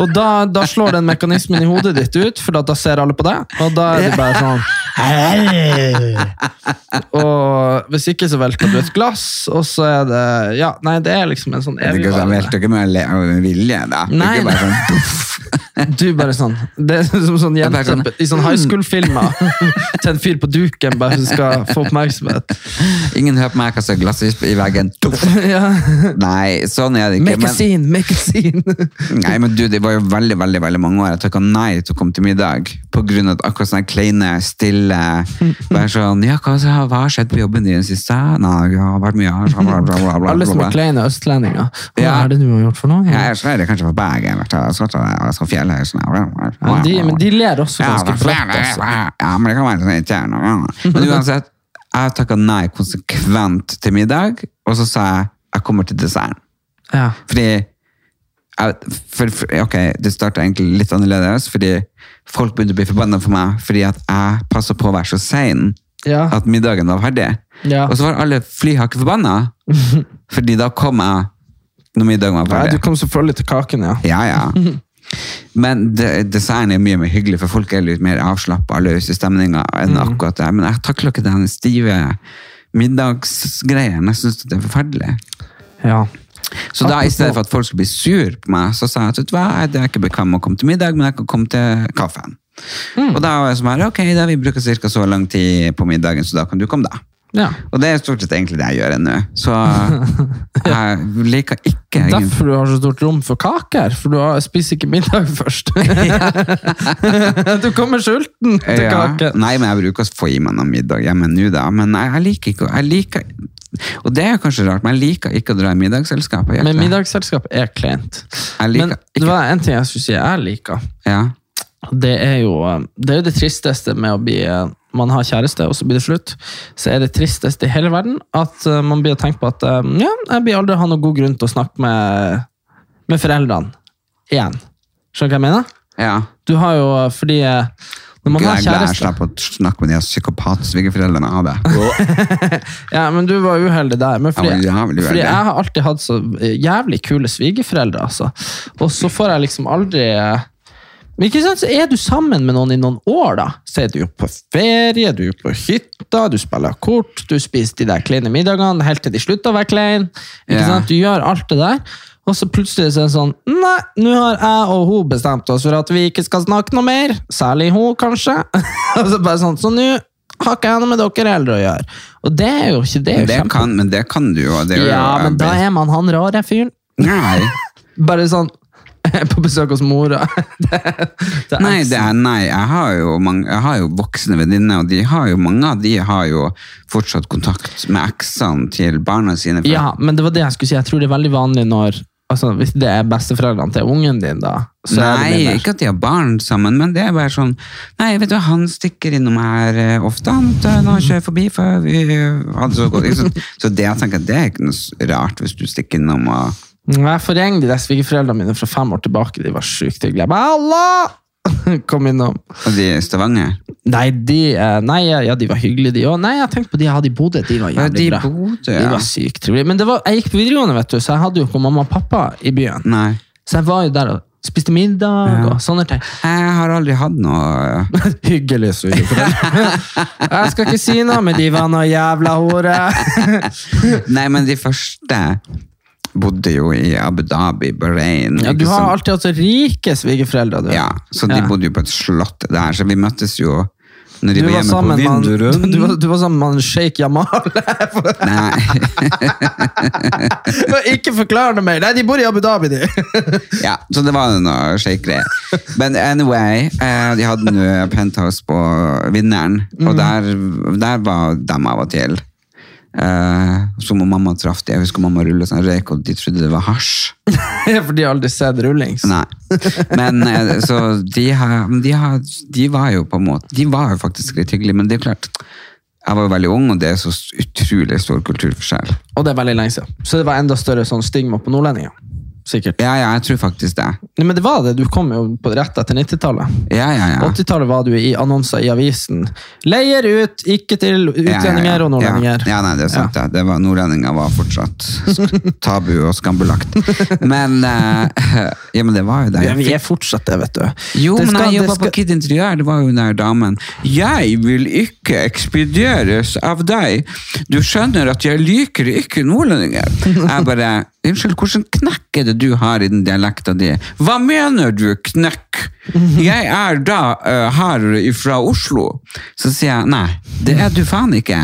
og da, da slår den mekanismen i hodet ditt ut, for da- da ser alle på deg. Og da er det bare sånn og hvis ikke, så velter du et glass, og så er det Ja, nei, det er liksom en sånn Det er ikke sånn, velter evigvarende ikke med le- av vilje, da. Det er Nei, ikke bare nei. sånn, puff. Du bare sånn Det er som sånn er bare jente sånn, i sånn high school-filmer. Til en fyr på duken bare som skal få oppmerksomhet. Ingen hører på meg, jeg kaster glass i, i veggen. Tuff. Ja. Nei, sånn er det ikke. Make a scene, make a scene! nei, men du, det var jo veldig, veldig, veldig mange år. Jeg takket nei til å komme til middag, på grunn av at akkurat sånne kleine, stille, bare sånn, ja, hva, så- hva har skjedd på jobben din siste? Nei, det har vært mye. Bla, bla, bla, bla, bla, Alle som bla. er kleine østlendinger. Hva Ja. er det du har gjort for noe? Ja, jeg skal kanskje på Bergen, jeg skal til jeg skal til fjellet. jeg skal- Ja, de, men de ler også Ja, ganske men flott. flere- Altså. Ja, men det kan være sånn interne. ja. Men uansett, jeg takka nei konsekvent til middag, og så sa jeg jeg kommer til desserten. Ja. Fordi jeg, for, for, Ok, det starta egentlig litt annerledes, fordi folk begynte å bli forbanna for meg fordi at jeg passa på å være så sein Ja. at middagen var ferdig. Ja. Og så var alle flyhakket forbanna, fordi da kom jeg når middagen var Nei, ferdig. du kom selvfølgelig til kaken, ja. Ja, ja. Men de, design er mye mer hyggelig, for folk er litt mer avslappa og løse i stemninga enn akkurat det. Men jeg takler ikke den stive middagsgreien. Jeg syns det er forferdelig. ja. Så da, i stedet for at folk skulle bli sur på meg, så sa jeg at vet du hva, jeg er ikke bekvem med å komme til middag, men jeg kan komme til kaffen. Og da var jeg sånn her, ok, da vi bruker cirka så lang tid på middagen, så da kan du komme da. ja. Og det er stort sett egentlig det jeg gjør ennå. Så jeg liker ikke egentlig- Derfor du har så stort rom for kaker, for du har- spiser ikke middag først. du kommer sulten til Ja. kaken. Nei, men jeg bruker å få i meg noe middag hjemme nå, da. Men jeg, jeg liker ikke å- jeg liker, Og det er kanskje rart, men jeg liker ikke å dra i middagsselskapet. Men middagsselskap er kleint. Jeg liker Men ikke- det var en ting jeg skulle si jeg liker. Ja. Det er jo eh, det, er jo det tristeste med å bli eh, man har kjæreste, og så blir det slutt. Så er det tristeste i hele verden at eh, man blir å tenke på at eh, ja, jeg blir aldri ha noen god grunn til å snakke med, med foreldrene igjen. Skjønner du hva jeg mener? ja. Du har jo, fordi eh, når man Gud, har jeg er glad jeg kjæreste slapp å snakke med de psykopat-svigerforeldrene av det. Ja, men du var uheldig der. Men fordi, Jeg var jævlig fordi uheldig. jeg har alltid hatt så eh, jævlig kule svigerforeldre, altså. Og så får jeg liksom aldri eh, men ikke sant, så Er du sammen med noen i noen år, da, så er du jo på ferie, du er på hytta, du spiller kort, du spiser de der kleine middagene helt til de slutter å være kleine. Ikke Ja. sant, Du gjør alt det der, og så plutselig så er det sånn Nei, nå har jeg og hun bestemt oss for at vi ikke skal snakke noe mer. Særlig hun, kanskje. og så bare sånn, Så nå har ikke jeg noe med dere eldre å gjøre. Og det er jo ikke det. er jo Det kjempe- kan, men det kan du jo. og Det er jo ja, men da er man han rare fyren. Nei. Bare sånn På besøk hos mora. det, det er Nei, det er, nei jeg, har jo mange, jeg har jo voksne venninner, og de har jo, mange av de har jo fortsatt kontakt med eksene til barna sine. for- Ja, men det var det jeg skulle si. Jeg tror det er veldig vanlig når altså, Hvis det er besteforeldrene til ungen din, da. Så er det Nei, mindre. ikke at de har barn sammen, men det er bare sånn Nei, vet du, han stikker innom her eh, ofte, han vet du, når han kjører forbi, for vi eh, hadde så godt ikke sant? Så det jeg tenker, det er ikke noe s- rart hvis du stikker innom og Jeg forgjeng de der svigerforeldrene mine fra fem år tilbake. De var sjukt hyggelige. Jeg bare, Halla! Kom innom. Og de i Stavanger. Nei, de, eh, nei, ja, de var hyggelige, de òg. Nei, jeg tenkte på de jeg hadde i Bodø. De var Ja, jævlig de i bra. Bodø, De ja. var sykt trivelige. Men det var, jeg gikk på videregående, vet du, så jeg hadde jo ikke mamma og pappa i byen. Nei. Så jeg var jo der og spiste middag og sånne ting. Jeg har aldri hatt noe eh, Hyggelig svigerforeldre. jeg skal ikke si noe, men de var noe jævla hore. Nei, men de første bodde jo i Abu Dhabi, Bahrain. Ja, du ikke har sant? alltid hatt så rike svigerforeldre, du. Ja, så de Ja. bodde jo på et slott der, så vi møttes jo når de Du var var, hjemme sammen på med Vindurun. han, du, var, du var sammen med han Sheikh Jamal. Nei, ikke forklar det mer! Nei, de bor i Abu Dhabi, de! ja, så det var noe shake-greier. Men anyway, eh, de hadde nå penthouse på vinneren, og der, der var dem av og til. Eh, så må mamma traff de, jeg husker mamma rullet sånn røyk, og de trodde det var hasj. For de har aldri sett rullings. Nei. Men eh, så de, har, men de, har, de var jo på en måte De var jo faktisk litt hyggelige, men det er klart Jeg var jo veldig ung, og det er så utrolig stor kulturforskjell. Og det er veldig lenge siden. Så det var enda større sånn stigma på nordlendinger. Sikkert. Ja, ja, jeg tror faktisk det. Nei, men det var det. Du kom jo på rett etter 90-tallet. Ja, ja, ja. 80-tallet var du i annonser i avisen. Leier ut, ikke til Ja, utlendinger ja, ja. og nordlendinger. Ja, ja nei, det er sant. det. Det var, nordlendinger var fortsatt sk- tabu og skambelagt. Men eh, Ja, men det var jo det. Ja, vi er fortsatt det, vet du. Jo, det men skal- jeg det jobba på skal- Kid Interiør. Det var jo den der damen. Jeg vil ikke ekspederes av deg. Du skjønner at jeg liker ikke nordlendinger. Jeg bare Unnskyld, hvordan knekk er det du har i den dialekta di? Hva mener du, knekk? Jeg er da eh, her fra Oslo. Så sier jeg nei, det er du faen ikke.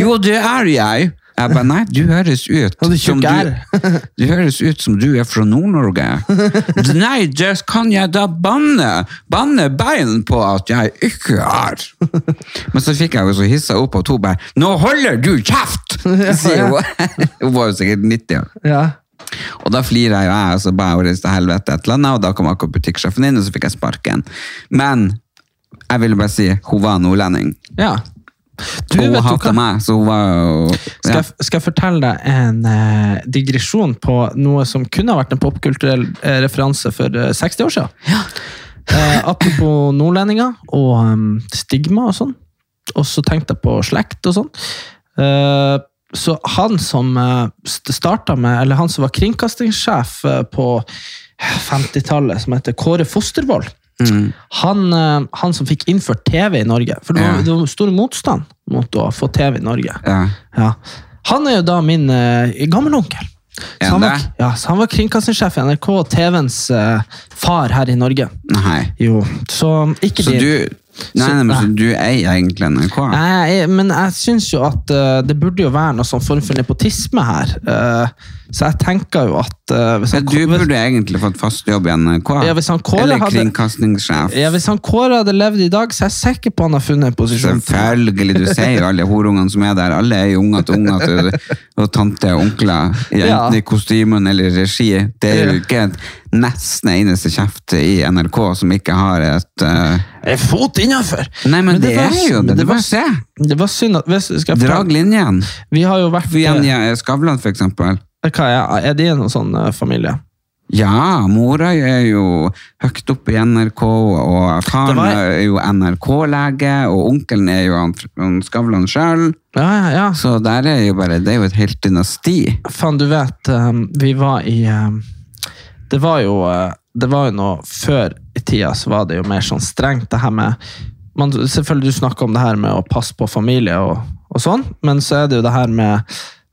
Jo, det er jeg. Jeg bare, nei, du høres ut Og du som tjukk du, er. det høres ut som du er fra Nord-Norge. Nei, det kan jeg da banne, banne bein på at jeg ikke er. Men så fikk jeg jo så hissa opp, og to bare Nå holder du kjeft! sier hun. Hun var jo sikkert 90 år. Ja. Og da flirer jeg og jeg, og så ba jeg henne til helvete et eller annet, og da kom akkurat butikksjefen inn, og så fikk jeg sparken. Men jeg ville bare si hun var nordlending. ja. Du, Og hun vet du hva? hata meg, så hun var jo Skal, ja. jeg, skal jeg fortelle deg en eh, digresjon på noe som kunne ha vært en popkulturell eh, referanse for eh, 60 år siden? Eh, apropos nordlendinger og em, stigma og sånn. Og så tenkte jeg på slekt og sånn. Eh, så han som eh, st- starta med, eller han som var kringkastingssjef eh, på 50-tallet, som heter Kåre Fostervold, Mm. han, eh, han som fikk innført TV i Norge. For det var, Ja. det var stor motstand mot å få TV i Norge. Ja. Ja. Han er jo da min uh, gammelonkel. Er Så han han, var, det? ja, så han var kringkastingssjef i NRK og TV-ens eh, far her i Norge. Nei. Jo, så ikke Så din. du Nei, Så- nei, men så du eier egentlig NRK? Nei, jeg- men jeg syns jo at eh, det burde jo være noe sånn form for nepotisme her. Eh, så jeg tenker jo at eh, hvis Ja, han, du hvis- burde egentlig fått fast jobb i NRK. Ja, hvis han Kåre Eller hadde- kringkastingssjef. ja, hvis han Kåre hadde levd i dag, så er jeg sikker på han har funnet en posisjon. Selvfølgelig, du sier jo alle horungene som er der. Alle er jo unger til unger til og tante og onkler. Ja. Enten i kostymen eller i regi. Det er jo ikke et nesten eneste kjeft i NRK som ikke har et eh, En fot innafor! Nei, men, det, var- er jo det. men Det var- bare se. Det var synd at hvis, skal jeg Drag fortelle- linjen. Vi har jo vært eh, Jenny Skavlan, for eksempel. Hva er, er de i noen sånn eh, familie? Ja, mora er jo høyt oppe i NRK, og Det faren var- er jo NRK-lege, og onkelen er jo han, han Skavlan sjøl. Ja, ja, ja. Så der er jo bare, det er jo et helt dynasti. Faen, du vet, ehm, vi var i ehm, Det var jo eh, Det var jo noe Før i tida så var det jo mer sånn strengt, det her med man, Selvfølgelig, du snakker om det her med å passe på familie og, og sånn, men så er det jo det her med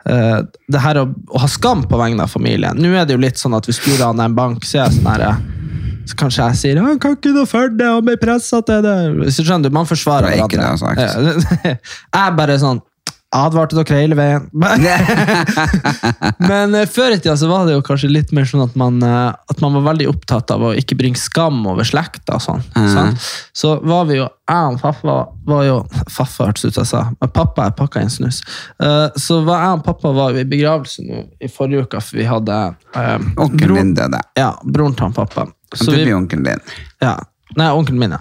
eh, det her å, å ha skam på vegne av familien. Nå er det jo litt sånn at hvis du raner en bank, så er jeg sånn her eh, så Kanskje jeg sier 'han kan ikke noe for det', han blir pressa til det. Så skjønner du, Man forsvarer Det er ikke det jeg jeg er bare sånn Advarte dere hele veien. Men eh, før i tida så var det jo kanskje litt mer sånn at man, eh, at man var veldig opptatt av å ikke bringe skam over slekta. og Sånn, Mm. sant? Så var vi jo Jeg og pappa var jo Faffa hørtes ut som jeg sa, men pappa jeg pakka inn snus. Eh, så var jeg og pappa var jo i begravelse nå i forrige uke, for vi hadde eh, Onkelen din døde. ja, broren til han pappa. Du Så vi- blir onkelen din. ja. Nei, onkelen min, ja.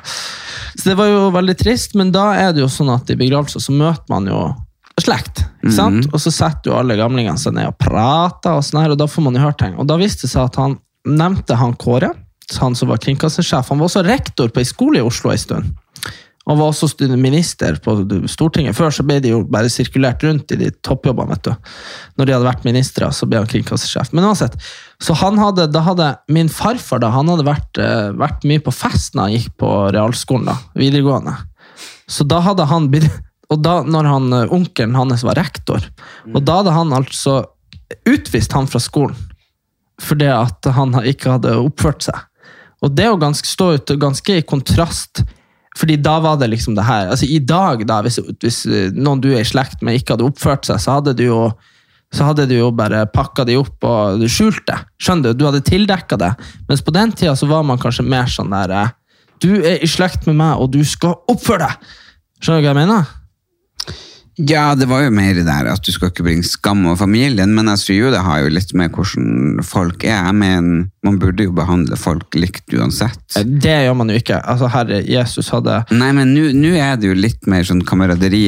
Så det var jo veldig trist, men da er det jo sånn at i begravelser så møter man jo slekt. ikke sant? Og så setter jo alle gamlingene seg ned og prater, og sånn her, og da får man jo hørt ting. Og da viste det seg at han nevnte han Kåre, han som var kringkastingssjef. Han var også rektor på ei skole i Oslo en stund. Og var også stund- minister på Stortinget. Før så ble de jo bare sirkulert rundt i de toppjobbene. vet du. Når de hadde vært ministre, så ble han kringkastingssjef. Men uansett, så han hadde, da hadde min farfar da, han hadde vært, eh, vært mye på fest når han gikk på realskolen, da, videregående. Så da hadde han begynt- Og da, når han, eh, onkelen hans var rektor, og da hadde han altså utvist han fra skolen fordi at han ha- ikke hadde oppført seg. Og det er jo ganske stå ut, og ganske i kontrast. Fordi da var det liksom det her. Altså I dag, da, hvis, hvis eh, noen du er i slekt med, ikke hadde oppført seg, så hadde du jo, så hadde du jo bare pakka de opp og skjult det. Skjønner du? Du hadde tildekka det. Mens på den tida så var man kanskje mer sånn der eh, Du er i slekt med meg, og du skal oppføre deg! Skjønner du hva jeg mener? Ja, det var jo mer det der at du skal ikke bringe skam over familien, men jeg tror jo det har jo litt med hvordan folk er. Jeg mener, man burde jo behandle folk likt uansett. Eh, Det gjør man jo ikke. Altså, Herre Jesus hadde Nei, men nå nå er det jo litt mer sånn kameraderi.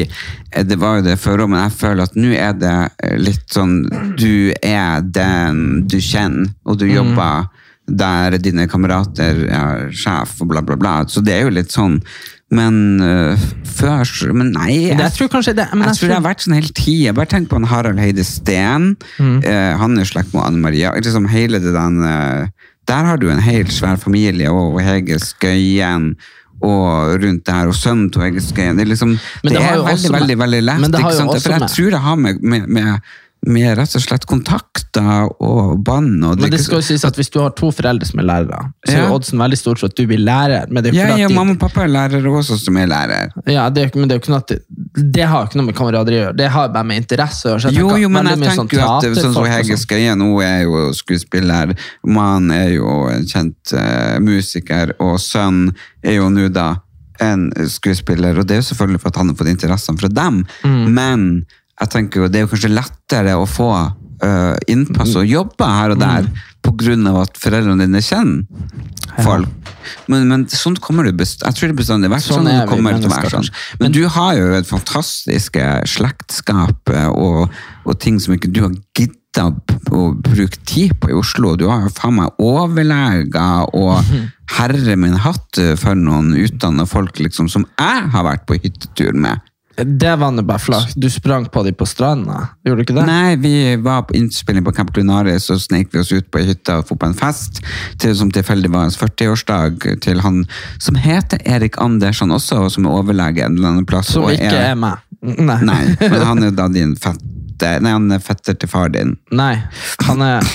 Eh, Det var jo det før òg, men jeg føler at nå er det eh, litt sånn Du er den du kjenner, og Mm. du jobber der dine kamerater er sjef og bla, bla, bla. Så det er jo litt sånn. Men eh, før så- Men nei. Men jeg tror kanskje det- men jeg, jeg tror det tror- har vært sånn hele tida. Bare tenk på han Harald Heide Steen. Mm. Eh, han er i slekt med Anne Maria. Liksom hele det den, eh, der har du en helt svær familie, og Hege Skøyen og rundt der, og sønnen til Hege Skøyen. Det er, liksom, det Men det har er jo veldig, også med- veldig veldig lett. Men det har ikke jo sant? også For jeg med- tror det har med, med, med, med rett og slett kontakter og bånd og Men det ikke- skal jo sies at hvis du har to foreldre som er lærere, så er Ja. jo oddsen veldig stor for at du blir lærer. Men det er jo ja, ikke ja, at de- mamma og pappa er lærere også, som er lærer. Ja, det er, jo ikke- men det er jo ikke noe at det, det har jo ikke noe med kameraderi å gjøre. Det har bare med interesse å gjøre. så jeg Jo, tenker jo, men veldig jeg mye tenker jo at sånn som teaterfolk og Hege sånn. Skøyen, hun er jo skuespiller, man er jo en kjent eh, musiker, og sønn er jo nå da en skuespiller, og det er jo selvfølgelig for at han har fått interessene fra dem, men jeg tenker jo, det er jo kanskje lettere å få eh, innpass og jobbe her og der, på grunn av at foreldrene dine kjenner folk. Men, men sånn kommer du best, jeg tror det bestandig har vært Sånn sånn, er det vi kommer til å være mennesker, sånn. Men du har jo et fantastisk eh, slektskap eh, og, og ting som ikke du har giddet å bruke tid på i Oslo. Du har jo faen meg overleger og herre min hatt eh, for noen utdannede folk liksom, som jeg har vært på hyttetur med. Det var nå bare flaks. Du sprang på dem på stranda, gjorde du ikke det? Nei, vi var på innspilling på Camp Lunaris, og snek vi oss ut på ei hytte og fikk på en fest, til, som tilfeldig var hans 40-årsdag, til han som heter Erik Andersson også, og som er overlege en eller annen plass. Som og ikke er meg. Nei. Nei, men han er jo da din fetter, nei, han er fetter til far din. Nei. Han er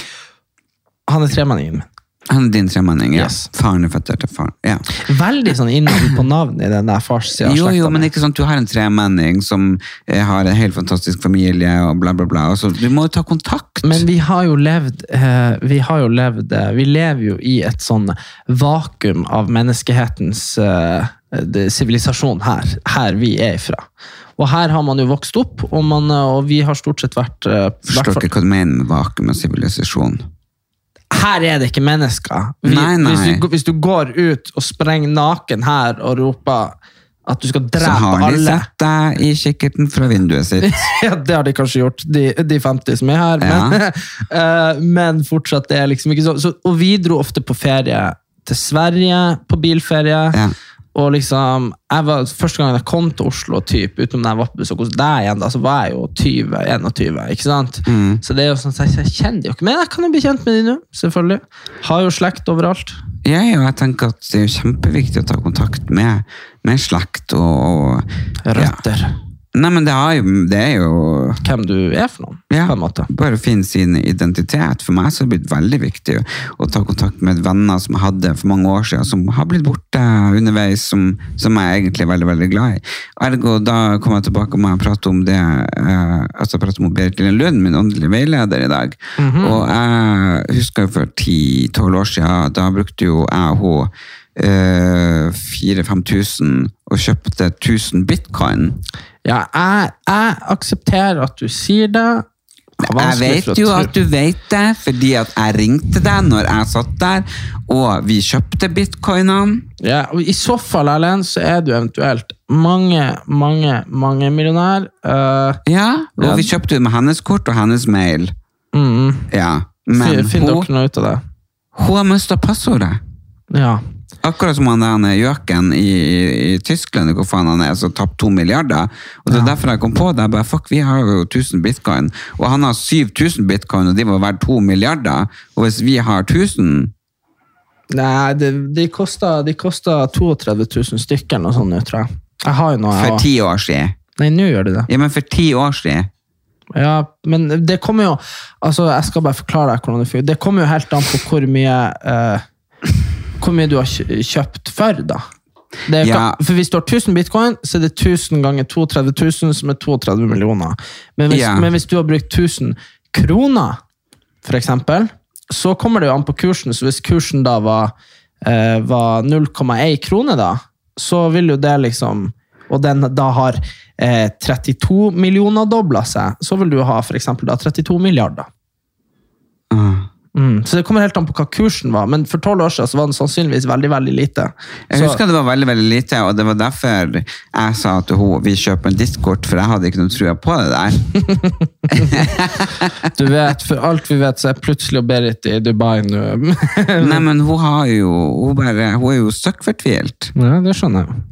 Han er tremenningen min. Han er din tremenning, ja. Yes. Faren er fetter til far, ja. Veldig sånn innom på navnet i den der farssida av Jo, slekta jo, men mi. ikke sant, du har en tremenning som eh, har en helt fantastisk familie, og bla bla bla, og så du må jo ta kontakt. Men vi har jo levd, eh, vi, har jo levd eh, vi lever jo i et sånn vakuum av menneskehetens eh, det- sivilisasjon her, her vi er ifra. Og her har man jo vokst opp, og, man, eh, og vi har stort sett vært eh, Forstår hvertfall- ikke hva du mener med vakuum og sivilisasjon. Her er det ikke mennesker! Vi, Nei, nei. Hvis, du, hvis du går ut og sprenger naken her og roper at du skal Så drepe har de alle sett deg i kikkerten fra vinduet sitt. Ja, det har de kanskje gjort, de, de 50 som er her. Men, eh, men fortsatt, det er liksom ikke sånn. Så, og vi dro ofte på ferie til Sverige, på bilferie. Ja. Og liksom, jeg var, Første gangen jeg kom til Oslo, typ, utenom da jeg var på besøk hos deg, igjen, da, så var jeg jo 20-21. ikke sant? Mm. Så det er jo sånn, så jeg, jeg kjenner de jo ikke, men jeg kan jo bli kjent med de nå. selvfølgelig. Har jo slekt overalt. Ja, ja, jeg tenker at det er jo kjempeviktig å ta kontakt med, med slekt og, og Ja. Røtter. Nei, men det, har jo, det er jo Hvem du er for noen, ja, på en måte. Bare finne sin identitet. For meg så har det blitt veldig viktig å ta kontakt med venner som jeg hadde for mange år siden, som har blitt borte underveis, som, som jeg egentlig er veldig veldig glad i. Ergo, da kom jeg tilbake og må jeg prate om det eh, altså jeg prater med Berit Lille Lund, min åndelige veileder, i dag. Og jeg husker jo for 10-12 år siden, da brukte jo jeg og hun eh, 4-5 tusen og kjøpte 1000 bitcoin. Ja, jeg, jeg aksepterer at du sier det. Det er Jeg vanskelig for å vet jo tro. at du vet det, fordi at jeg ringte deg når jeg satt der, og vi kjøpte bitcoinene. Ja, og I så fall, Erlend, så er du eventuelt mange, mange, mange millionær. Eh, Ja, og Ja. vi kjøpte det med hennes kort og hennes mail. Ja, men finn- mm, Finn hun, dere noe ut av det. hun har mista passordet. Ja. Akkurat som han der gjøken i, i, i Tyskland, hvor faen han er, som tapte to milliarder. Og det er derfor jeg kom på det. Jeg bare, fuck, vi har jo 1000 bitcoin, og han har 7000 bitcoin, og de var verdt to milliarder. Og hvis vi har 1000 Nei, det, de kosta de kosta 32 000 stykker eller noe sånt, nå, tror jeg. Jeg har jo noe. jeg for har- ti år siden Nei, nå gjør de det. Ja, men for ti år siden Ja, men det kommer jo altså Jeg skal bare forklare deg hvordan det fungerer. Det kommer jo helt an på hvor mye eh, Hvor mye du har kj- kjøpt for, da. Det er, Ja. ka- For hvis du har 1000 bitcoin, så er det 1000 ganger 32 000, som er 32 millioner. Men hvis, Ja. men hvis du har brukt 1000 kroner, for eksempel, så kommer det jo an på kursen. Så hvis kursen da var, eh, var 0,1 krone, da, så vil jo det liksom Og den da har eh, 32 millioner dobla seg, så vil du ha for eksempel da 32 milliarder. Ah. Mm. Så det kommer helt an på hva kursen var, men for tolv år siden så var den sannsynligvis veldig, veldig lite. Jeg Så- husker det var veldig veldig lite, og det var derfor jeg sa til henne vi kjøper en diskkort, for jeg hadde ikke noe trua på det der. Du vet, for alt vi vet, så er plutselig og Berit i Dubai nå. Nei, men hun har jo Hun, bare, hun er jo søkkfortvilt. ja, det skjønner jeg.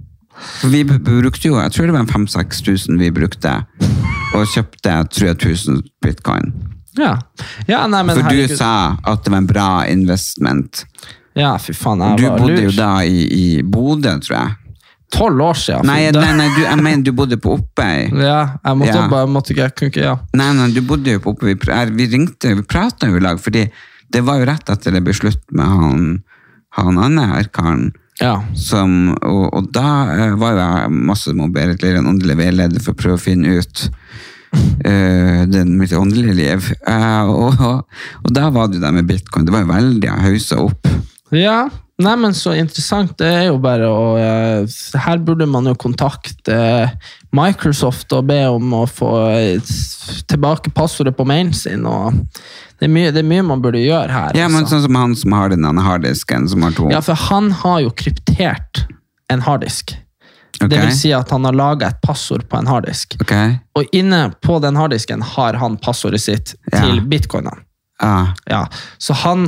For Vi b- brukte jo Jeg tror det var 5000-6000 tusen vi brukte, og kjøpte jeg tror jeg 1000 bitcoin. Ja, ja nei, men For du herregud. sa at det var en bra investment. Ja, fy faen, jeg Du var bodde jo lur. da i, i Bodø, tror jeg. Tolv år siden. fy Nei, da- nei, nei du, jeg mener du bodde på Oppøy. Ja, jeg måtte Ja. bare, måtte ikke, jeg kunne ikke, ja. Nei, nei, du bodde jo på oppe, vi, pr- er- vi ringte, vi pratet jo i lag, fordi det var jo rett etter det ble slutt med han, han andre her karen, Ja. som, og, og da eh, var jo jeg masse med Berit Lirien, åndelig veileder, for å prøve å finne ut eh, den, mitt åndelige liv. Eh, og, og, og da var det jo der med bitcoin, det var jo veldig hauset opp. Ja, nei, men så interessant, det er jo bare å, eh, her burde man jo kontakte eh, Microsoft og be om å få eh, s- tilbake passordet på mailen sin, og det er mye, det er mye man burde gjøre her. Ja, men altså. sånn som han som har den denne harddisken, som har to. Ja, for han har jo kryptert en harddisk. Ok. Det vil si at han har laga et passord på en harddisk. Ok, Og inne på den harddisken har han passordet sitt Ja. til bitcoinene. ah, Ja. Så han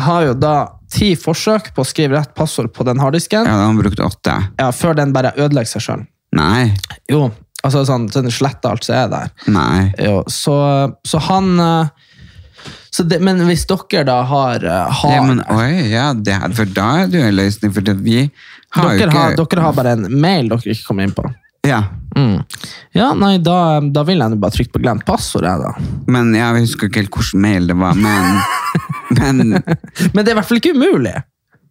har jo da ti forsøk på å skrive rett passord på den harddisken ja, da har han brukt åtte. ja, før den bare ødelegger seg sjøl. Nei, Jo, altså sånn, sånn sletter alt som er der. nei. Jo, så, så han eh, så det, Men hvis dere da har, eh, har Ja, men oi, ja, det er, for da er det jo en løsning, for det, vi har jo dere, ikke har, dere har bare en mail dere ikke kommer inn på. Ja, Mm. Ja, nei, da, da vil jeg nå bare trykke på 'glem passord', jeg, da. men jeg husker ikke helt hvilken mail det var, men, men Men det er i hvert fall ikke umulig!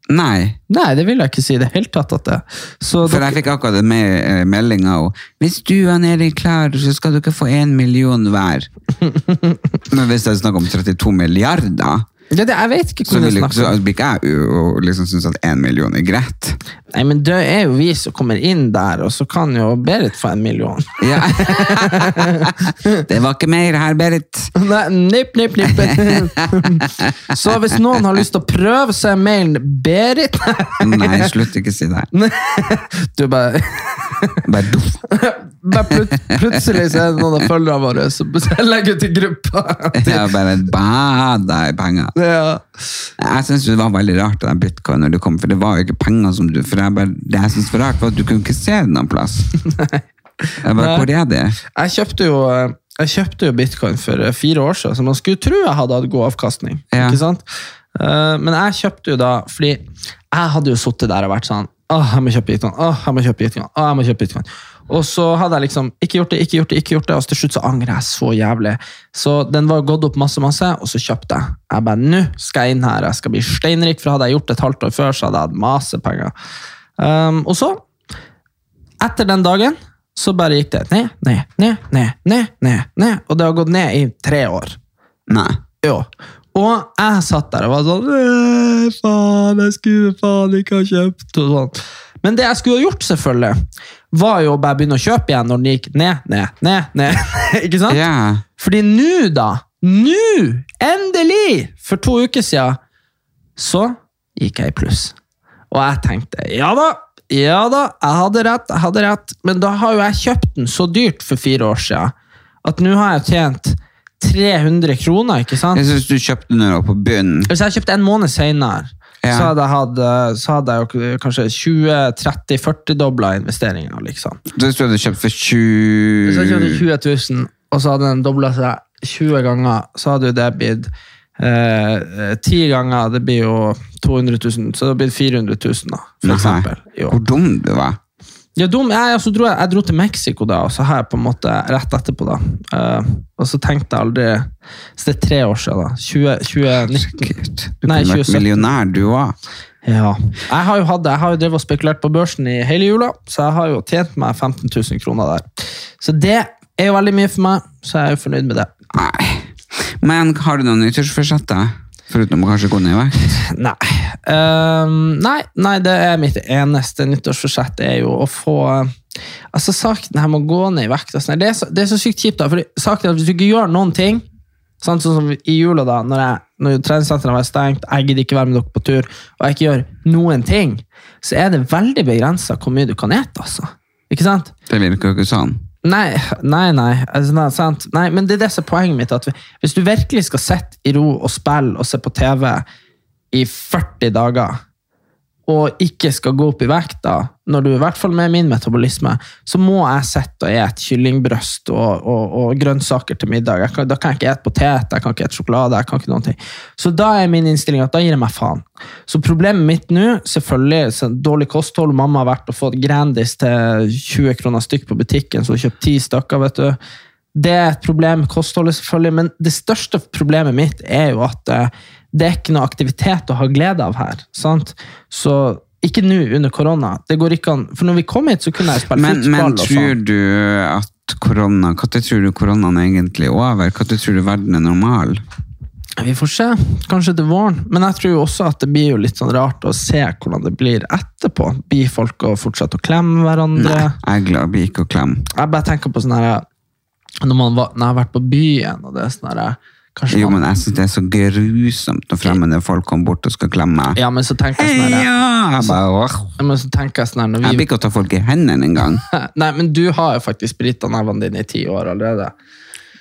Nei. Nei, det vil jeg ikke si i det hele tatt. at det. Så For jeg fikk akkurat en me- eh, melding av henne. Hvis du og Erik klarer, så skal dere få én million hver. Men hvis det er snakk om 32 milliarder, ja, det, jeg vet ikke så, hvordan det vil ikke, snakker så blir ikke jeg u- og liksom synes at én million er greit. Nei, men det er jo vi som kommer inn der, og så kan jo Berit få en million. Ja. Det var ikke mer her, Berit. Nei, nipp, nipp, nipp. så hvis noen har lyst til å prøve, så er mailen Berit Nei, slutt ikke å si det. Du bare, Bare duff. bare plut, Plutselig så er det noen av følgerne våre som legger ut i gruppa. Jeg bare bada i penger. Ja. Jeg synes jo det var veldig rart det der bitcoin når du kom, for det var jo ikke penger som du For jeg bare, det jeg synes var rart, var at du kunne ikke se det noen plass. Jeg bare, hvor er det? Jeg kjøpte jo eh, jeg kjøpte jo bitcoin for eh, fire år siden, så man skulle tro jeg hadde hatt god avkastning. Ja. ikke sant? Eh, Men jeg kjøpte jo da fordi jeg hadde jo sittet der og vært sånn Åh, jeg må kjøpe bitcoin. Åh, jeg må kjøpe bitcoin. Åh, jeg må kjøpe bitcoin. Og så hadde jeg liksom ikke gjort det, ikke gjort det, ikke gjort det, og så til slutt så angrer jeg så jævlig. Så den var gått opp masse, masse, og så kjøpte jeg. Jeg bare, nå skal jeg inn her, jeg skal bli steinrik, for hadde jeg gjort det et halvt år før, så hadde jeg hatt masse penger. Um, og så etter den dagen så bare gikk det ned, ned, ned, ned, ned, ned, ned. Og det har gått ned i tre år. Nei. Jo. Og jeg satt der og var sånn «Øh, Faen, jeg skulle faen ikke ha kjøpt. Og sånn. Men det jeg skulle ha gjort, selvfølgelig, var jo å bare begynne å kjøpe igjen når den gikk ned, ned, ned. ned. ikke sant? Ja. Fordi nå, da, nå, endelig, for to uker siden, så gikk jeg i pluss. Og jeg tenkte, ja da, ja da, jeg hadde rett, jeg hadde rett. Men da har jo jeg kjøpt den så dyrt for fire år siden, at nå har jeg tjent 300 kroner, ikke sant? Jeg synes du kjøpte den da på bunnen. Hvis jeg kjøpte en måned senere, Ja. så, hadde jeg hatt, eh, så hadde jeg jo k- kanskje 20-30-40-dobla investeringen, liksom. Hvis du hadde kjøpt for Hvis jeg 20... kjøpte 20 000, og så hadde den dobla seg 20 ganger, så hadde jo det blitt eh, 10 ganger, det blir jo 200 000, så det hadde blitt 400 000 da, for Nei. eksempel. Jo. Hvor dum du var. Ja, dum. Jeg, og så dro jeg, jeg dro til Mexico da, og så har jeg på en måte rett etterpå da. Eh, og så tenkte jeg aldri, så det er tre år siden da, 20, 2019. Sikkert. Du Nei, kunne vært 2017. millionær, du òg. Ja. Jeg har jo, hatt, jeg har jo drevet og spekulert på børsen i hele jula, så jeg har jo tjent meg 15 000 kroner der. Så det er jo veldig mye for meg, så jeg er jo fornøyd med det. Nei. Men har du noen nyttårsforsetter? Foruten å kanskje gå ned i vekt? Nei. Ehm, nei, nei, det er mitt eneste nyttårsforsett er jo å få eh, Altså, saken her med å gå ned i vekt og sånn, det, er så- det er så sykt kjipt, da. Fordi saken er at hvis du ikke gjør noen ting sant, Sånn som i jula, da, når, jeg, når treningssentrene var stengt, jeg gidder ikke være med dere på tur, og jeg ikke gjør noen ting, så er det veldig begrensa hvor mye du kan ete, altså. Ikke sant? Det virker jo ikke sånn. Nei, nei, nei. Altså, nei, sant. nei men det er det som er poenget mitt. At hvis du virkelig skal sitte i ro og spille og se på TV i 40 dager, og ikke skal gå opp i vekt, da, når du i hvert fall med min metabolisme, så må jeg sitte og ete kyllingbrøst og, og, og grønnsaker til middag. Jeg kan, da kan jeg ikke ete potet, jeg kan ikke ete sjokolade, jeg kan ikke noen ting. Så da er min innstilling at da gir jeg meg faen. Så problemet mitt nå, selvfølgelig, så dårlig kosthold, mamma har vært og fått Grandis til 20 kroner stykk på butikken, så hun kjøpte 10 stykker, vet du. Det er et problem, kostholdet selvfølgelig, men det største problemet mitt er jo at eh, det er ikke noe aktivitet å ha glede av her. sant? Så ikke nå under korona. Det går ikke an. For når vi kom hit, så kunne jeg spille Men, fotball. men og tror sånn. du at korona Når tror du koronaen er egentlig over? Når tror du verden er normal? Vi får se. Kanskje til våren. Men jeg tror jo også at det blir jo litt sånn rart å se hvordan det blir etterpå. Blir folk å fortsette å klemme hverandre? Nei, jeg er glad vi gikk og klem. Jeg bare tenker på sånn her når, man var, når jeg har vært på byen, og det er sånn her kanskje Jo, man- men jeg synes det er så grusomt når fremmede folk kommer bort og skal klemme meg. Ja, men så tenker jeg sånn her, Heia! Jeg bare, åh. ja, men så tenker jeg sånn her når vi Jeg vil ikke ta folk i hendene engang. Nei, men du har jo faktisk sprita nevene dine i ti år allerede.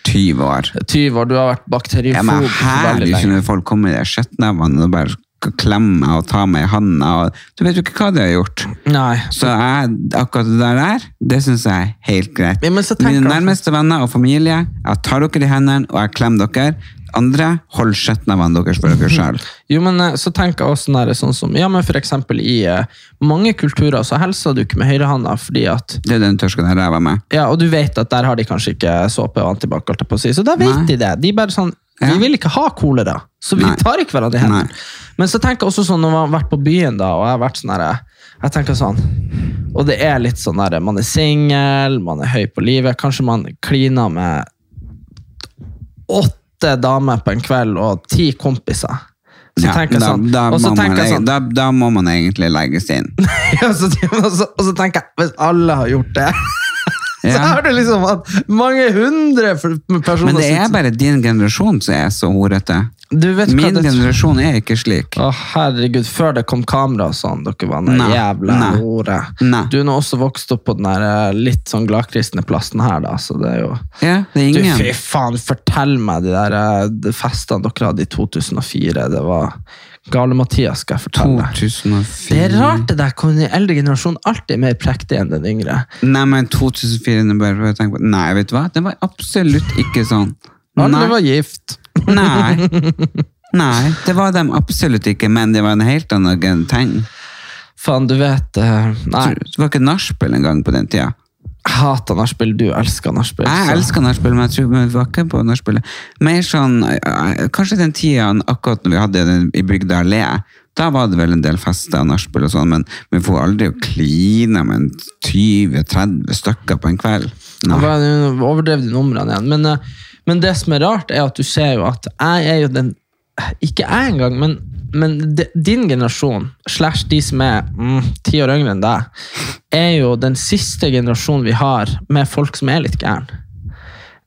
20 år. 20 år, du har Jeg vært men bakteriofob her veldig ikke lenge. når folk kommer i skjøttnevene og bare skal klemme meg og ta meg i handa. Og, du vet jo ikke hva de har gjort. Nei. Så jeg, akkurat det der, der, det synes jeg er helt greit. Ja, men så tenker Mine jeg- nærmeste venner og familie, jeg tar dere i hendene og jeg klemmer dere. Andre, hold skjøttnevene deres for dere selv. Jo, men eh, så tenker jeg også sånn, her, sånn som Ja, men for eksempel i eh, mange kulturer så helser du ikke med høyrehånda fordi at Det er den tørsken jeg rever med. Ja, og du vet at der har de kanskje ikke såpe og antibac, holdt jeg på å si, så da vet Nei. de det. De bare sånn Ja. Vi vil ikke ha kolera, så vi Nei. tar ikke hverandre i hendene. Nei. Men så tenker jeg også sånn når man har vært på byen, da, og jeg har vært sånn her Jeg tenker sånn Og det er litt sånn der Man er singel, man er høy på livet, kanskje man kliner med åtte damer på en kveld og ti kompiser. Så Ja, tenker jeg da- sånn, da og så må tenker jeg man- sånn da, da må man egentlig legges inn. ja, så, og, så, og så tenker jeg Hvis alle har gjort det Så Ja. har du liksom hatt mange hundre f- personer Men det er som- bare din generasjon som er så horete. Du sånn. vet hva Min det generasjon er ikke slik. Å, herregud, før det kom kamera og sånn, dere var den Nei, jævla nei, hore. nei. Du er nå også vokst opp på den der eh, litt sånn gladkristne plassen her, da, så det er jo Ja, det er Du, fy ingen. faen, fortell meg de der eh, de festene dere hadde i 2004. Det var Gale-Mathias, skal jeg fortelle. deg. Det 2004 er rart det der, hvordan den eldre generasjonen alltid er mer prektig enn den yngre. Nei, men 2004 nå bare får jeg tenke på. Nei, vet du hva? Det var absolutt ikke sånn. Alle Nei. var gift. Nei. Nei, det var dem absolutt ikke, men det var en helt annen gen- ting. Faen, du vet eh, Nei, Det var ikke nachspiel engang på den tida. jeg hater nachspiel. Du elsker nachspiel. så- Jeg elsker nachspiel, men jeg tror men vi var ikke på nachspielet. Mer sånn, eh, kanskje den tida akkurat når vi hadde den i Bygda allé, da var det vel en del fester og nachspiel og sånn, men vi får aldri å kline med en 20-30 stykker på en kveld. Jeg Nei. bare, Nå overdrev de numrene igjen. Men, eh, men det som er rart, er at du ser jo at jeg er jo den Ikke jeg engang, men, men de, din generasjon, slash de som er mm, ti år yngre enn deg, er jo den siste generasjonen vi har med folk som er litt gærne.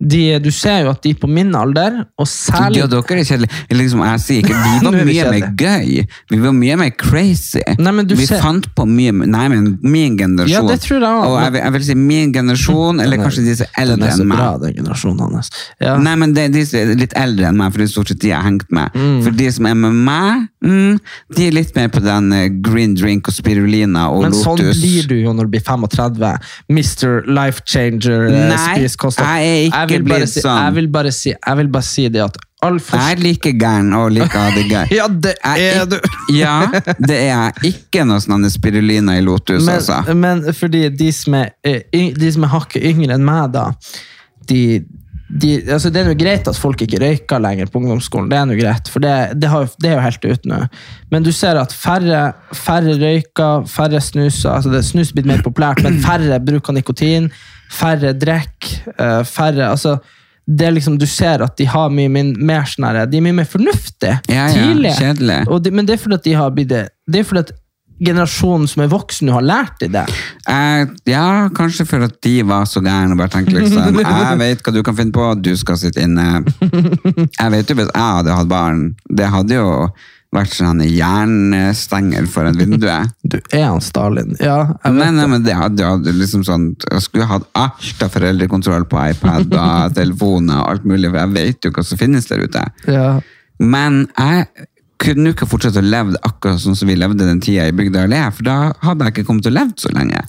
De, du ser jo at de på min alder, og særlig Ja, dere er kjedelige. Liksom, jeg sier ikke, vi var Nå er vi mye mer gøy. Vi var mye mer crazy. Nei, men du vi ser- fant på mye mer- Nei, men min generasjon. Ja, det tror jeg også. Og jeg, vil- jeg vil si min generasjon, eller kanskje de som er Den eldre er så enn meg. bra, den generasjonen hans. Ja. Nei, men det, de som er litt eldre enn meg, for det er stort sett de jeg har hengt med. Mm. For de som er med meg, mm, de er litt mer på den eh, green drink og spirulina og Men sånn lotus. blir du jo når du blir 35. Mr. Life Changer. eh, Nei, spis, kost deg. jeg er ikke vil bare blitt si, sånn. Jeg vil, bare si, jeg vil bare si det at all forskjell Jeg er like gæren og liker å ha det gøy. Ja, det Jeg er ikk- du. ja, det er jeg. Ikke noe sånn spirulina i Lotus, altså. Men, men fordi de som er, eh, yng- de som er hakket yngre enn meg, da de, de, altså Det er jo greit at folk ikke røyker lenger på ungdomsskolen, det er nå greit, for det, det, har, det er jo helt ut nå. Men du ser at færre, færre røyker, færre snuser. altså det, Snus er blitt mer populært, men færre bruker nikotin, færre drikker, eh, færre altså det er liksom, Du ser at de har mye min, mer sånn her, de er mye mer fornuftige Ja, ja, tidlig. kjedelig. Og det, men det er fordi at de har blitt det. Det er fordi at generasjonen som er voksen, nå har lært de det. Jeg, Eh, ja, kanskje for at de var så gærne og bare tenkte liksom Jeg vet hva du kan finne på, du skal sitte inne. Jeg vet jo hvis jeg hadde hatt barn, det hadde jo vært sånn jernstenger foran vinduet. Du er han Stalin. Ja, jeg vet Nei, nei, det. men det hadde, hadde liksom sånn Jeg skulle hatt alt av foreldrekontroll på iPad og telefoner og alt mulig, for jeg vet jo hva som finnes der ute. Ja. Men jeg kunne jo ikke fortsette å leve akkurat sånn som vi levde den tida i Bygdøy allé, for da hadde jeg ikke kommet til å leve så lenge.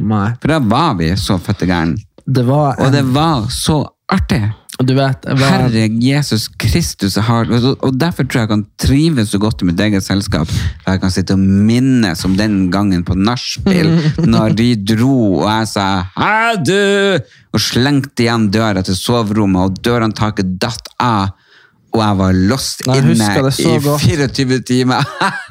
Nei. For da var vi så fette gærne. Det var Og en, det var så artig. og du vet, det var, Herre Jesus Kristus, jeg har, og og derfor tror jeg jeg kan trives så godt i mitt eget selskap. For jeg kan sitte og minnes om den gangen på nachspiel, når de dro og jeg sa 'hei, du!' og slengte igjen døra til soverommet, og dørhåndtaket datt av. Og jeg var lost Nei, jeg inne husker det så i godt. 24 timer.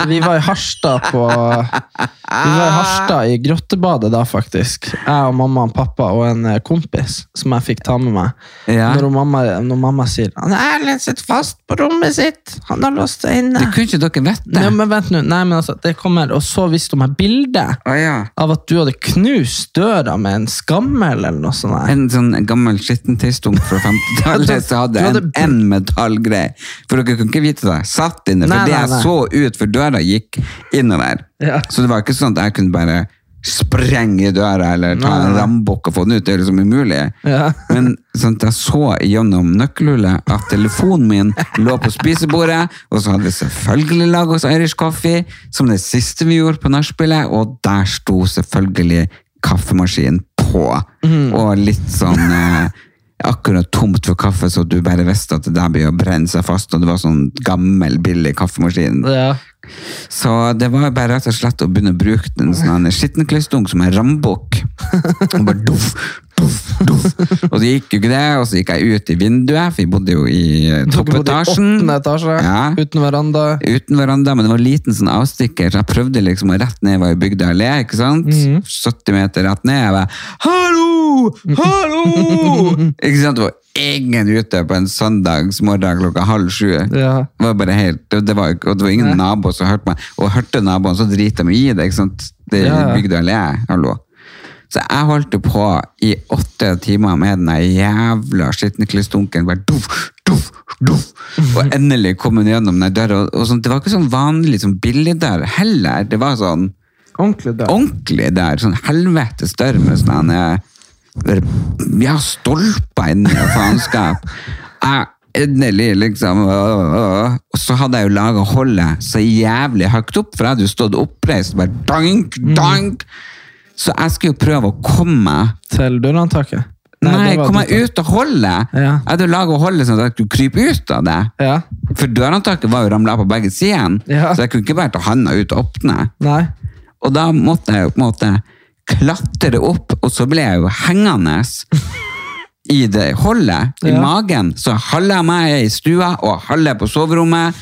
vi var i Harstad på Vi var i Harstad i Grottebadet da, faktisk. Jeg og mamma og pappa og en eh, kompis som jeg fikk ta med meg. Ja. Når, hun mamma, når mamma sier 'Han Erlend sitter fast på rommet sitt! Han har låst seg inne!' Kunne ikke dere vite det? Ja, men vent nå. Nei, men altså, det kommer, og så viste hun meg bildet Å ja. av at du hadde knust døra med en skammel eller noe sånt. der. En sånn gammel skittentøystump fra 50-tallet som hadde Du en, hadde- en metallgreie. For dere kunne ikke vite det. Jeg satt inne, for Nei, det nei, jeg nei. så ut, for døra gikk innover. Ja. Så det var ikke sånn at jeg kunne bare sprenge døra eller ta Nei, nei, en nei. rambukk og få den ut. Det er liksom umulig. Ja. Men sånn at jeg så gjennom nøkkelhullet at telefonen min lå på spisebordet, og så hadde vi selvfølgelig laget oss Irish Coffee, som det siste vi gjorde på nachspielet, og der sto selvfølgelig kaffemaskinen på, Mhm. og litt sånn eh, akkurat tomt for kaffe, så du bare visste at det der blir å brenne seg fast, og det var sånn gammel, billig kaffemaskin. Ja. Så det var bare rett og slett å begynne å bruke den sånn en skittenkløystung som en rambukk. Og bare duff, duff, duff. Og så gikk jo ikke det, og så gikk jeg ut i vinduet, for vi bodde jo i eh, Dere bodde i toppetasjen. åttende etasje, Ja. uten veranda. Uten veranda, men det var en liten sånn avstikker, så jeg prøvde liksom å rett ned var i bygda allé, ikke sant? Mhm. 70 meter rett ned, jeg bare, hallo, hallo! ikke sant, det var ingen ute på en søndagsmorgen klokka halv sju. Ja. Det var bare helt, det det var, og det var ingen naboer som hørte meg, og hørte naboen, så driter de i det, ikke sant? Det Ja, ja. bygde allé, hallo. Så jeg holdt jo på i åtte timer med den der jævla skittenklissdunken, bare duff, duff, duff, og endelig kom hun gjennom den der døra, og, og sånn, det var ikke sånn vanlig, sånn billig der heller, det var sånn Ordentlig død. ordentlig der, sånn helvete større med sånn her, eh, ja, stolper inni og faenskap. Jeg, endelig, liksom. øh, øh, øh. Og så hadde jeg jo laga holdet så jævlig høyt opp, for jeg hadde jo stått oppreist bare dank, Mm. dank. Så jeg skulle jo prøve å komme meg Til dørhåndtaket. Nei, det var kom meg dørhåndtaket. ut av holdet! Ja. Jeg hadde jo laga holdet sånn at jeg kunne krype ut av det. Ja. For dørhåndtaket var jo ramla av på begge sidene, Ja. så jeg kunne ikke bare ta handa ut og åpne. Nei. Og da måtte jeg jo på en måte klatre opp, og så ble jeg jo hengende i det holdet, i Ja. magen. Så halve meg er i stua, og halve er på soverommet.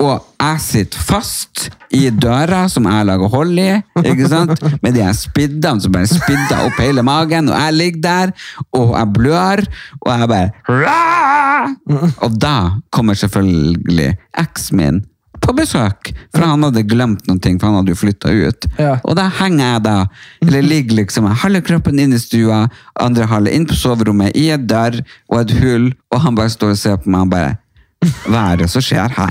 Og jeg sitter fast i døra som jeg lager hold i, ikke sant? med de her spiddene som bare spidder opp hele magen, og jeg ligger der, og jeg blør, og jeg bare "Rah!" Og da kommer selvfølgelig eksen min på besøk, for han hadde glemt noen ting, for han hadde jo flytta ut. Ja. Og da henger jeg da, eller ligger liksom med halve kroppen inn i stua, andre halve inn på soverommet, i et dør og et hull, og han bare står og ser på meg og bare Hva er det som skjer her?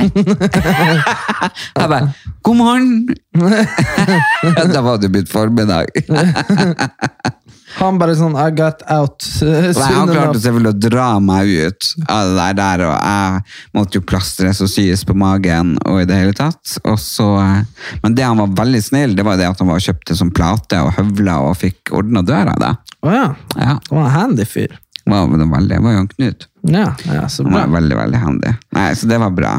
Jeg bare God morgen! da var det blitt formiddag. Han bare sånn I got out. Og han klarte selvfølgelig å dra meg ut av det der, der, og jeg måtte jo plastres og syes på magen og i det hele tatt. Og så, eh, men det han var veldig snill, det var det at han var sånn kjøpte som plate og høvla og fikk ordna døra. da. Å ja. Ja. Han var en handy fyr. Han Wow, men det var veldig, det var jo en Knut. Ja, ja, så Han bra. var veldig, veldig handy. Nei, så det var bra.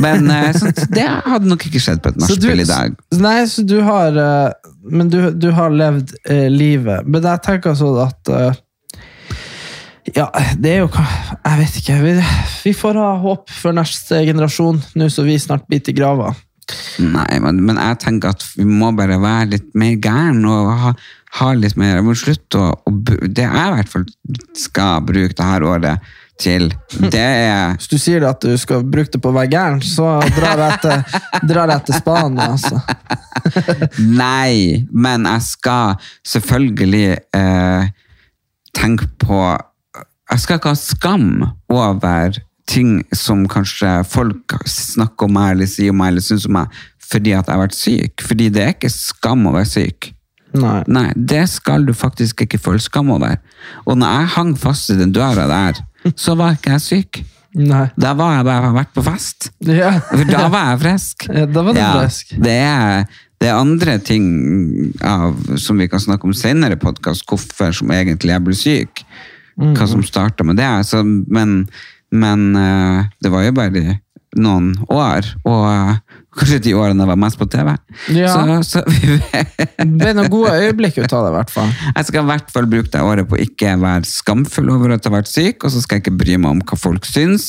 Men eh, så det hadde nok ikke skjedd på et Så du- nachspiel i dag. s- Nei, så du har eh, Men du, du har levd eh, livet. Men jeg tenker sånn at eh, Ja, det er jo ka- Jeg vet ikke. Vi, vi får ha håp for neste generasjon, nå som vi snart biter i grava. Nei, men, men jeg tenker at vi må bare være litt mer gæren og ha, ha litt mer Vi må slutte å, å bru- Det jeg i hvert fall skal bruke det her året til, det er Hvis du sier at du skal bruke det på å være gæren, så drar jeg til, drar jeg til Spania. Altså. Nei, men jeg skal selvfølgelig eh, tenke på Jeg skal ikke ha skam over ting som kanskje folk snakker om meg eller sier om meg eller syns om meg fordi at jeg har vært syk. Fordi det er ikke skam å være syk. Nei. Nei, det skal du faktisk ikke føle skam over. Og når jeg hang fast i den døra der, så var ikke jeg syk. Nei. Da var jeg bare jeg har vært på fest. Ja. For da var jeg frisk. Ja, da var du frisk. Det er, det er andre ting av, som vi kan snakke om senere i podkast, hvorfor som egentlig jeg ble syk. Mm. Hva som starta med det. Så, men men eh, det var jo bare noen år, og eh, kanskje de årene jeg var mest på TV. Ja. Så, så vi vet Det ble noen gode øyeblikk ut av det, i hvert fall. jeg skal i hvert fall bruke det året på å ikke være skamfull over at jeg har vært syk, og så skal jeg ikke bry meg om hva folk syns.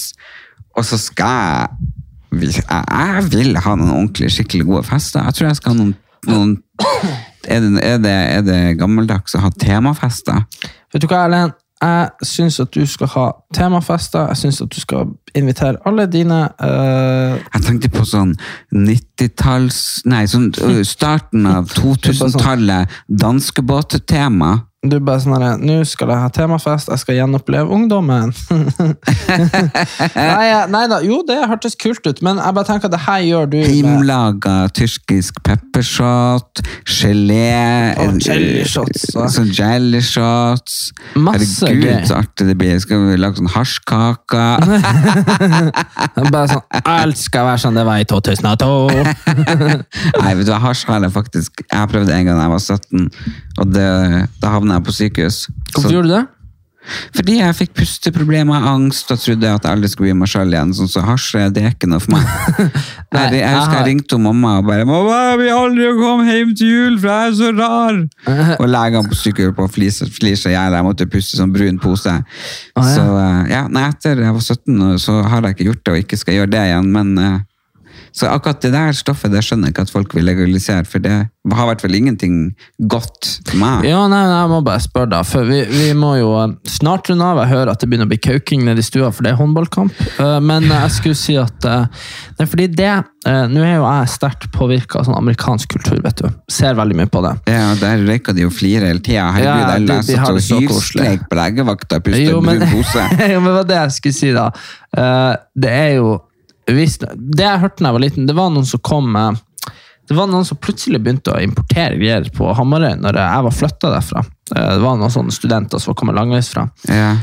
Og så skal jeg hvis Jeg jeg vil ha noen ordentlig skikkelig gode fester. Jeg tror jeg skal ha noen, noen er, det, er, det, er det gammeldags å ha temafester? Vet du hva, Erlend? Jeg syns at du skal ha temafester. Jeg syns at du skal invitere alle dine eh, Jeg tenkte på sånn 90-talls Nei, sånn ø, starten av 2000-tallet. Danskebåttema. Du er bare sånn her Nå skal jeg ha temafest, jeg skal gjenoppleve ungdommen. nei, eh, nei da, jo, det hørtes kult ut, men jeg bare tenker at det her gjør du med Hjemmelaga tyrkisk peppershot, gelé Å, jelly shots, ja. Sånn jelly shots. Masse gøy. Herregud, så artig det blir. Skal vi lage sånn hasjkaker? Jeg bare sånn, Alt skal være sånn det var i 2002. Nei, vet du hva, hasj har jeg faktisk Jeg prøvde en gang da jeg var 17, og det, da havna jeg på sykehus. Hvorfor Så, gjorde du det? fordi jeg fikk pusteproblemer, angst, og trodde at jeg aldri skulle bli meg sjøl igjen. Sånn, så hasj det er ikke noe for meg. Nei, jeg, jeg jeg husker har- jeg ringte mamma og bare 'Mamma, jeg vil aldri komme hjem til jul, for jeg er så rar'. Og legene på sykehuset på flis flis og gjerne, jeg måtte puste sånn brun pose. ja. Så eh, ja, nei, etter jeg var 17, så har jeg ikke gjort det, og ikke skal gjøre det igjen, men eh, så akkurat det der stoffet, det skjønner jeg ikke at folk vil legalisere, for det har i hvert fall ingenting godt for meg. Ja, nei, nei, jeg må bare spørre da, for vi, vi må jo eh, snart runde av. Jeg hører at det begynner å bli kauking nede i stua, for det er håndballkamp. Eh, Men eh, jeg skulle si at eh, det er fordi det eh, Nå er jo jeg sterkt påvirka av sånn amerikansk kultur, vet du. Ser veldig mye på det. Ja, der røyka de jo flire hele tida. Herregud, Ja, jeg de- de leste har og det så koselig. hylskleik på legevakta, pustet Jo, men, brun pose. jo, men hva det jeg skulle si, da. Eh, det er jo hvis, Det jeg hørte da jeg var liten, det var noen som kom med det var noen som plutselig begynte å importere greier på Hamarøy når jeg var flytta derfra. Eh, Det var noen sånne studenter som var kommet langveisfra. Ja.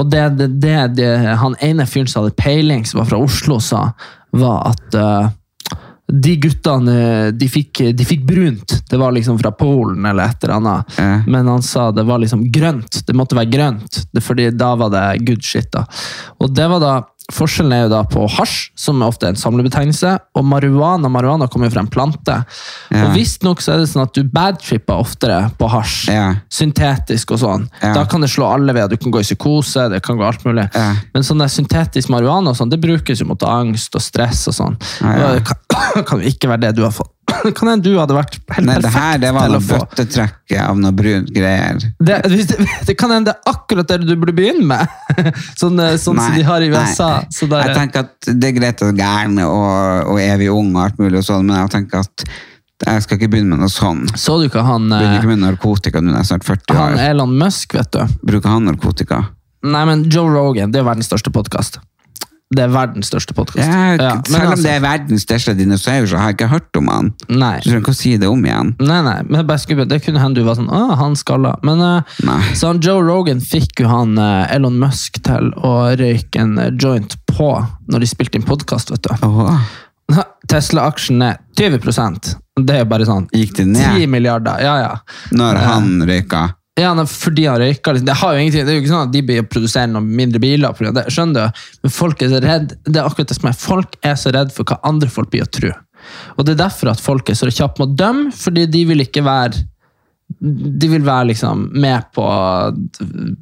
Og det, det, det, det han ene fyren som hadde peiling, som var fra Oslo, sa, var at eh, de guttene de fikk, de fikk brunt. Det var liksom fra Polen eller et eller annet. Ja. Men han sa det var liksom grønt. Det måtte være grønt, det, fordi da var det good shit. da. Og det var da, Forskjellen er jo da på hasj, som er ofte en samlebetegnelse, og marihuana. Marihuana kommer jo fra en plante. Ja. Og Visstnok så er det sånn at du badtripper oftere på hasj Ja. syntetisk og sånn. Ja. Da kan det slå alle veier. Du kan gå i psykose, det kan gå alt mulig. Ja. Men sånn der syntetisk marihuana og sånn, det brukes jo mot angst og stress og sånn. Ja, ja. Og Det kan, kan jo ikke være det du har fått. Kan hende du hadde vært helt Nei, det perfekt her det var til noe å få. bøttetrekk av noe brunt greier. Det, hvis det, det kan hende det er akkurat det du burde begynne med. Sånn, eh, sånn som Nei, de har i nei. USA. Så der, Jeg tenker at det er greit at gæren og, og evig ung og alt mulig og sånn, men jeg tenker at jeg skal ikke begynne med noe sånn. så du ikke han, Begynner eh, ikke med narkotika nå når jeg er snart 40 han år. Elon Musk, vet du? Bruker han narkotika? Nei, men Joe Rogan, det er verdens største podkast. Det er verdens største podkast. Ja, selv altså, om det er verdens største dinosaur, så har jeg ikke hørt om han. Nei. Du trenger ikke å si det om igjen. Nei, nei, men jeg bare skulle, det kunne hende du var sånn Åh, han skalla. Men eh, Nei. så han Joe Rogan fikk jo han eh, Elon Musk til å røyke en eh, joint på når de spilte inn podkast, vet du. Åh, Tesla-aksjen er 20 Det er jo bare sånn gikk det 10 ned milliarder. Ja, ja. når han røyka? Ja, nei, fordi han røyka liksom. Det, har jo ingenting- det er jo ikke sånn at de blir produserer noen mindre biler. på grunn av det, skjønner du? Men folk er så redd, det er akkurat det som er, folk er så redd for hva andre folk blir å tro. Og det er derfor at folk er så kjappe med å dømme, fordi de vil ikke være de vil være liksom med på,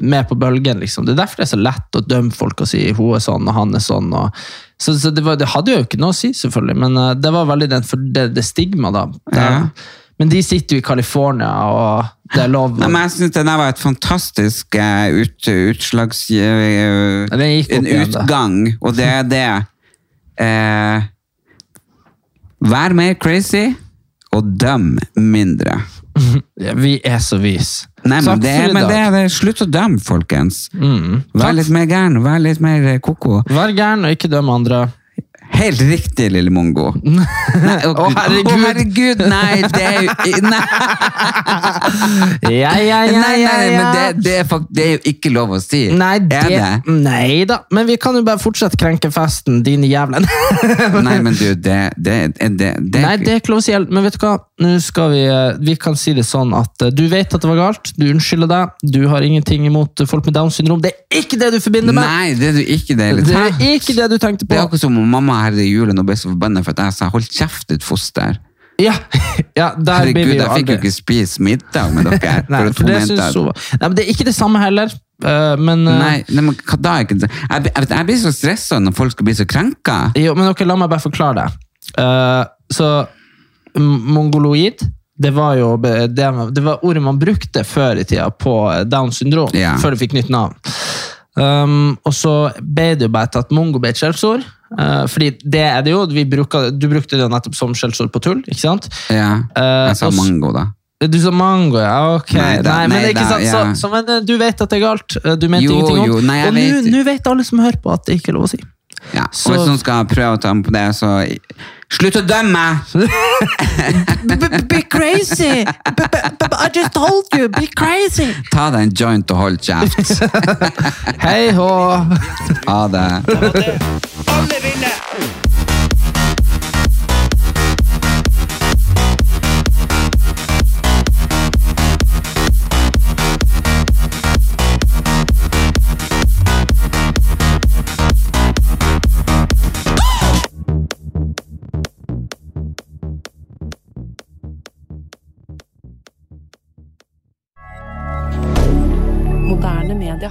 med på bølgen, liksom. Det er derfor det er så lett å dømme folk og si hun er sånn og han er sånn. Og, så så det, var, det hadde jo ikke noe å si, selvfølgelig, men eh, det var veldig den, for det, det stigma da. Ja. Men de sitter jo i California, og det er lov. Nei, men jeg synes det der var et fantastisk eh, ut, utslags... eh, Ja, den gikk opp en igjen, da. utgang, og det er det. Eh, vær mer crazy, og døm mindre. Ja, Vi er så vis. Nei, men, Takk det, for i men det, dag. Mm. er det, slutt å dømme, folkens. Vær Takk. litt mer gæren, vær litt mer eh, koko. Vær gæren og ikke døm andre. Helt riktig, lille mongo. Nei, å, Å, Gud. herregud. Å, herregud, nei, det er jo... Nei. Ja, ja, Nei, ja, nei, ja, nei, ja. men det, det, er fakt, det er jo ikke lov å si. Nei, Er det, det? nei da, men vi kan jo bare fortsette krenkefesten, din jævla Nei, men du, det, det, det, det, det Nei, det er ikke lov å si helt, men vet du hva? Nå skal vi, eh, vi kan si det sånn at eh, du vet at det var galt, du unnskylder deg, du har ingenting imot folk med Downs syndrom. Det er ikke det du forbinder med! Nei, det er du ikke det hele Det tatt. er ikke det du tenkte Det er på. akkurat som om mamma her i julen og ble så forbanna for at jeg sa 'hold kjeft, ditt foster'. Ja, ja der blir Herregud, vi jeg jo fikk jo aldri. ikke spise middag med dere. Nei, at for hun det mente synes at- hun var- Nei, men det er ikke det samme heller. eh, Men, eh, Nei, nei, men hva da? er ikke det- Jeg, jeg, jeg blir så stressa når folk skal bli så krenka. Jo, men ok, la meg bare forklare det. Eh, så m- mongoloid, det var jo be- det, det var ordet man brukte før i tida på eh, Downs syndrom, Ja. før det fikk nytt navn. Um, og så ble det jo bare tatt mongo ble et skjellsord, eh, fordi det er det jo. Vi bruker, du brukte det jo nettopp som skjellsord på tull, ikke sant? Ja, Eh, jeg sa og s- mango, da. Du sa mango, ja, ok. Nei, Nei da, men nei ikke da, sant, så, ja. så, men eh, du vet at det er galt. Eh, Du mente Jo, ingenting om jo, nei, jeg Og nå vet- nå vet alle som hører på, at det ikke er lov å si. Ja. Og så- hvis noen skal prøve å ta meg på det, så Slutt å dømme meg! Be crazy! I just told you, be crazy! Ta deg en joint og hold kjeft. Hei hå! Ha det. Moderne media.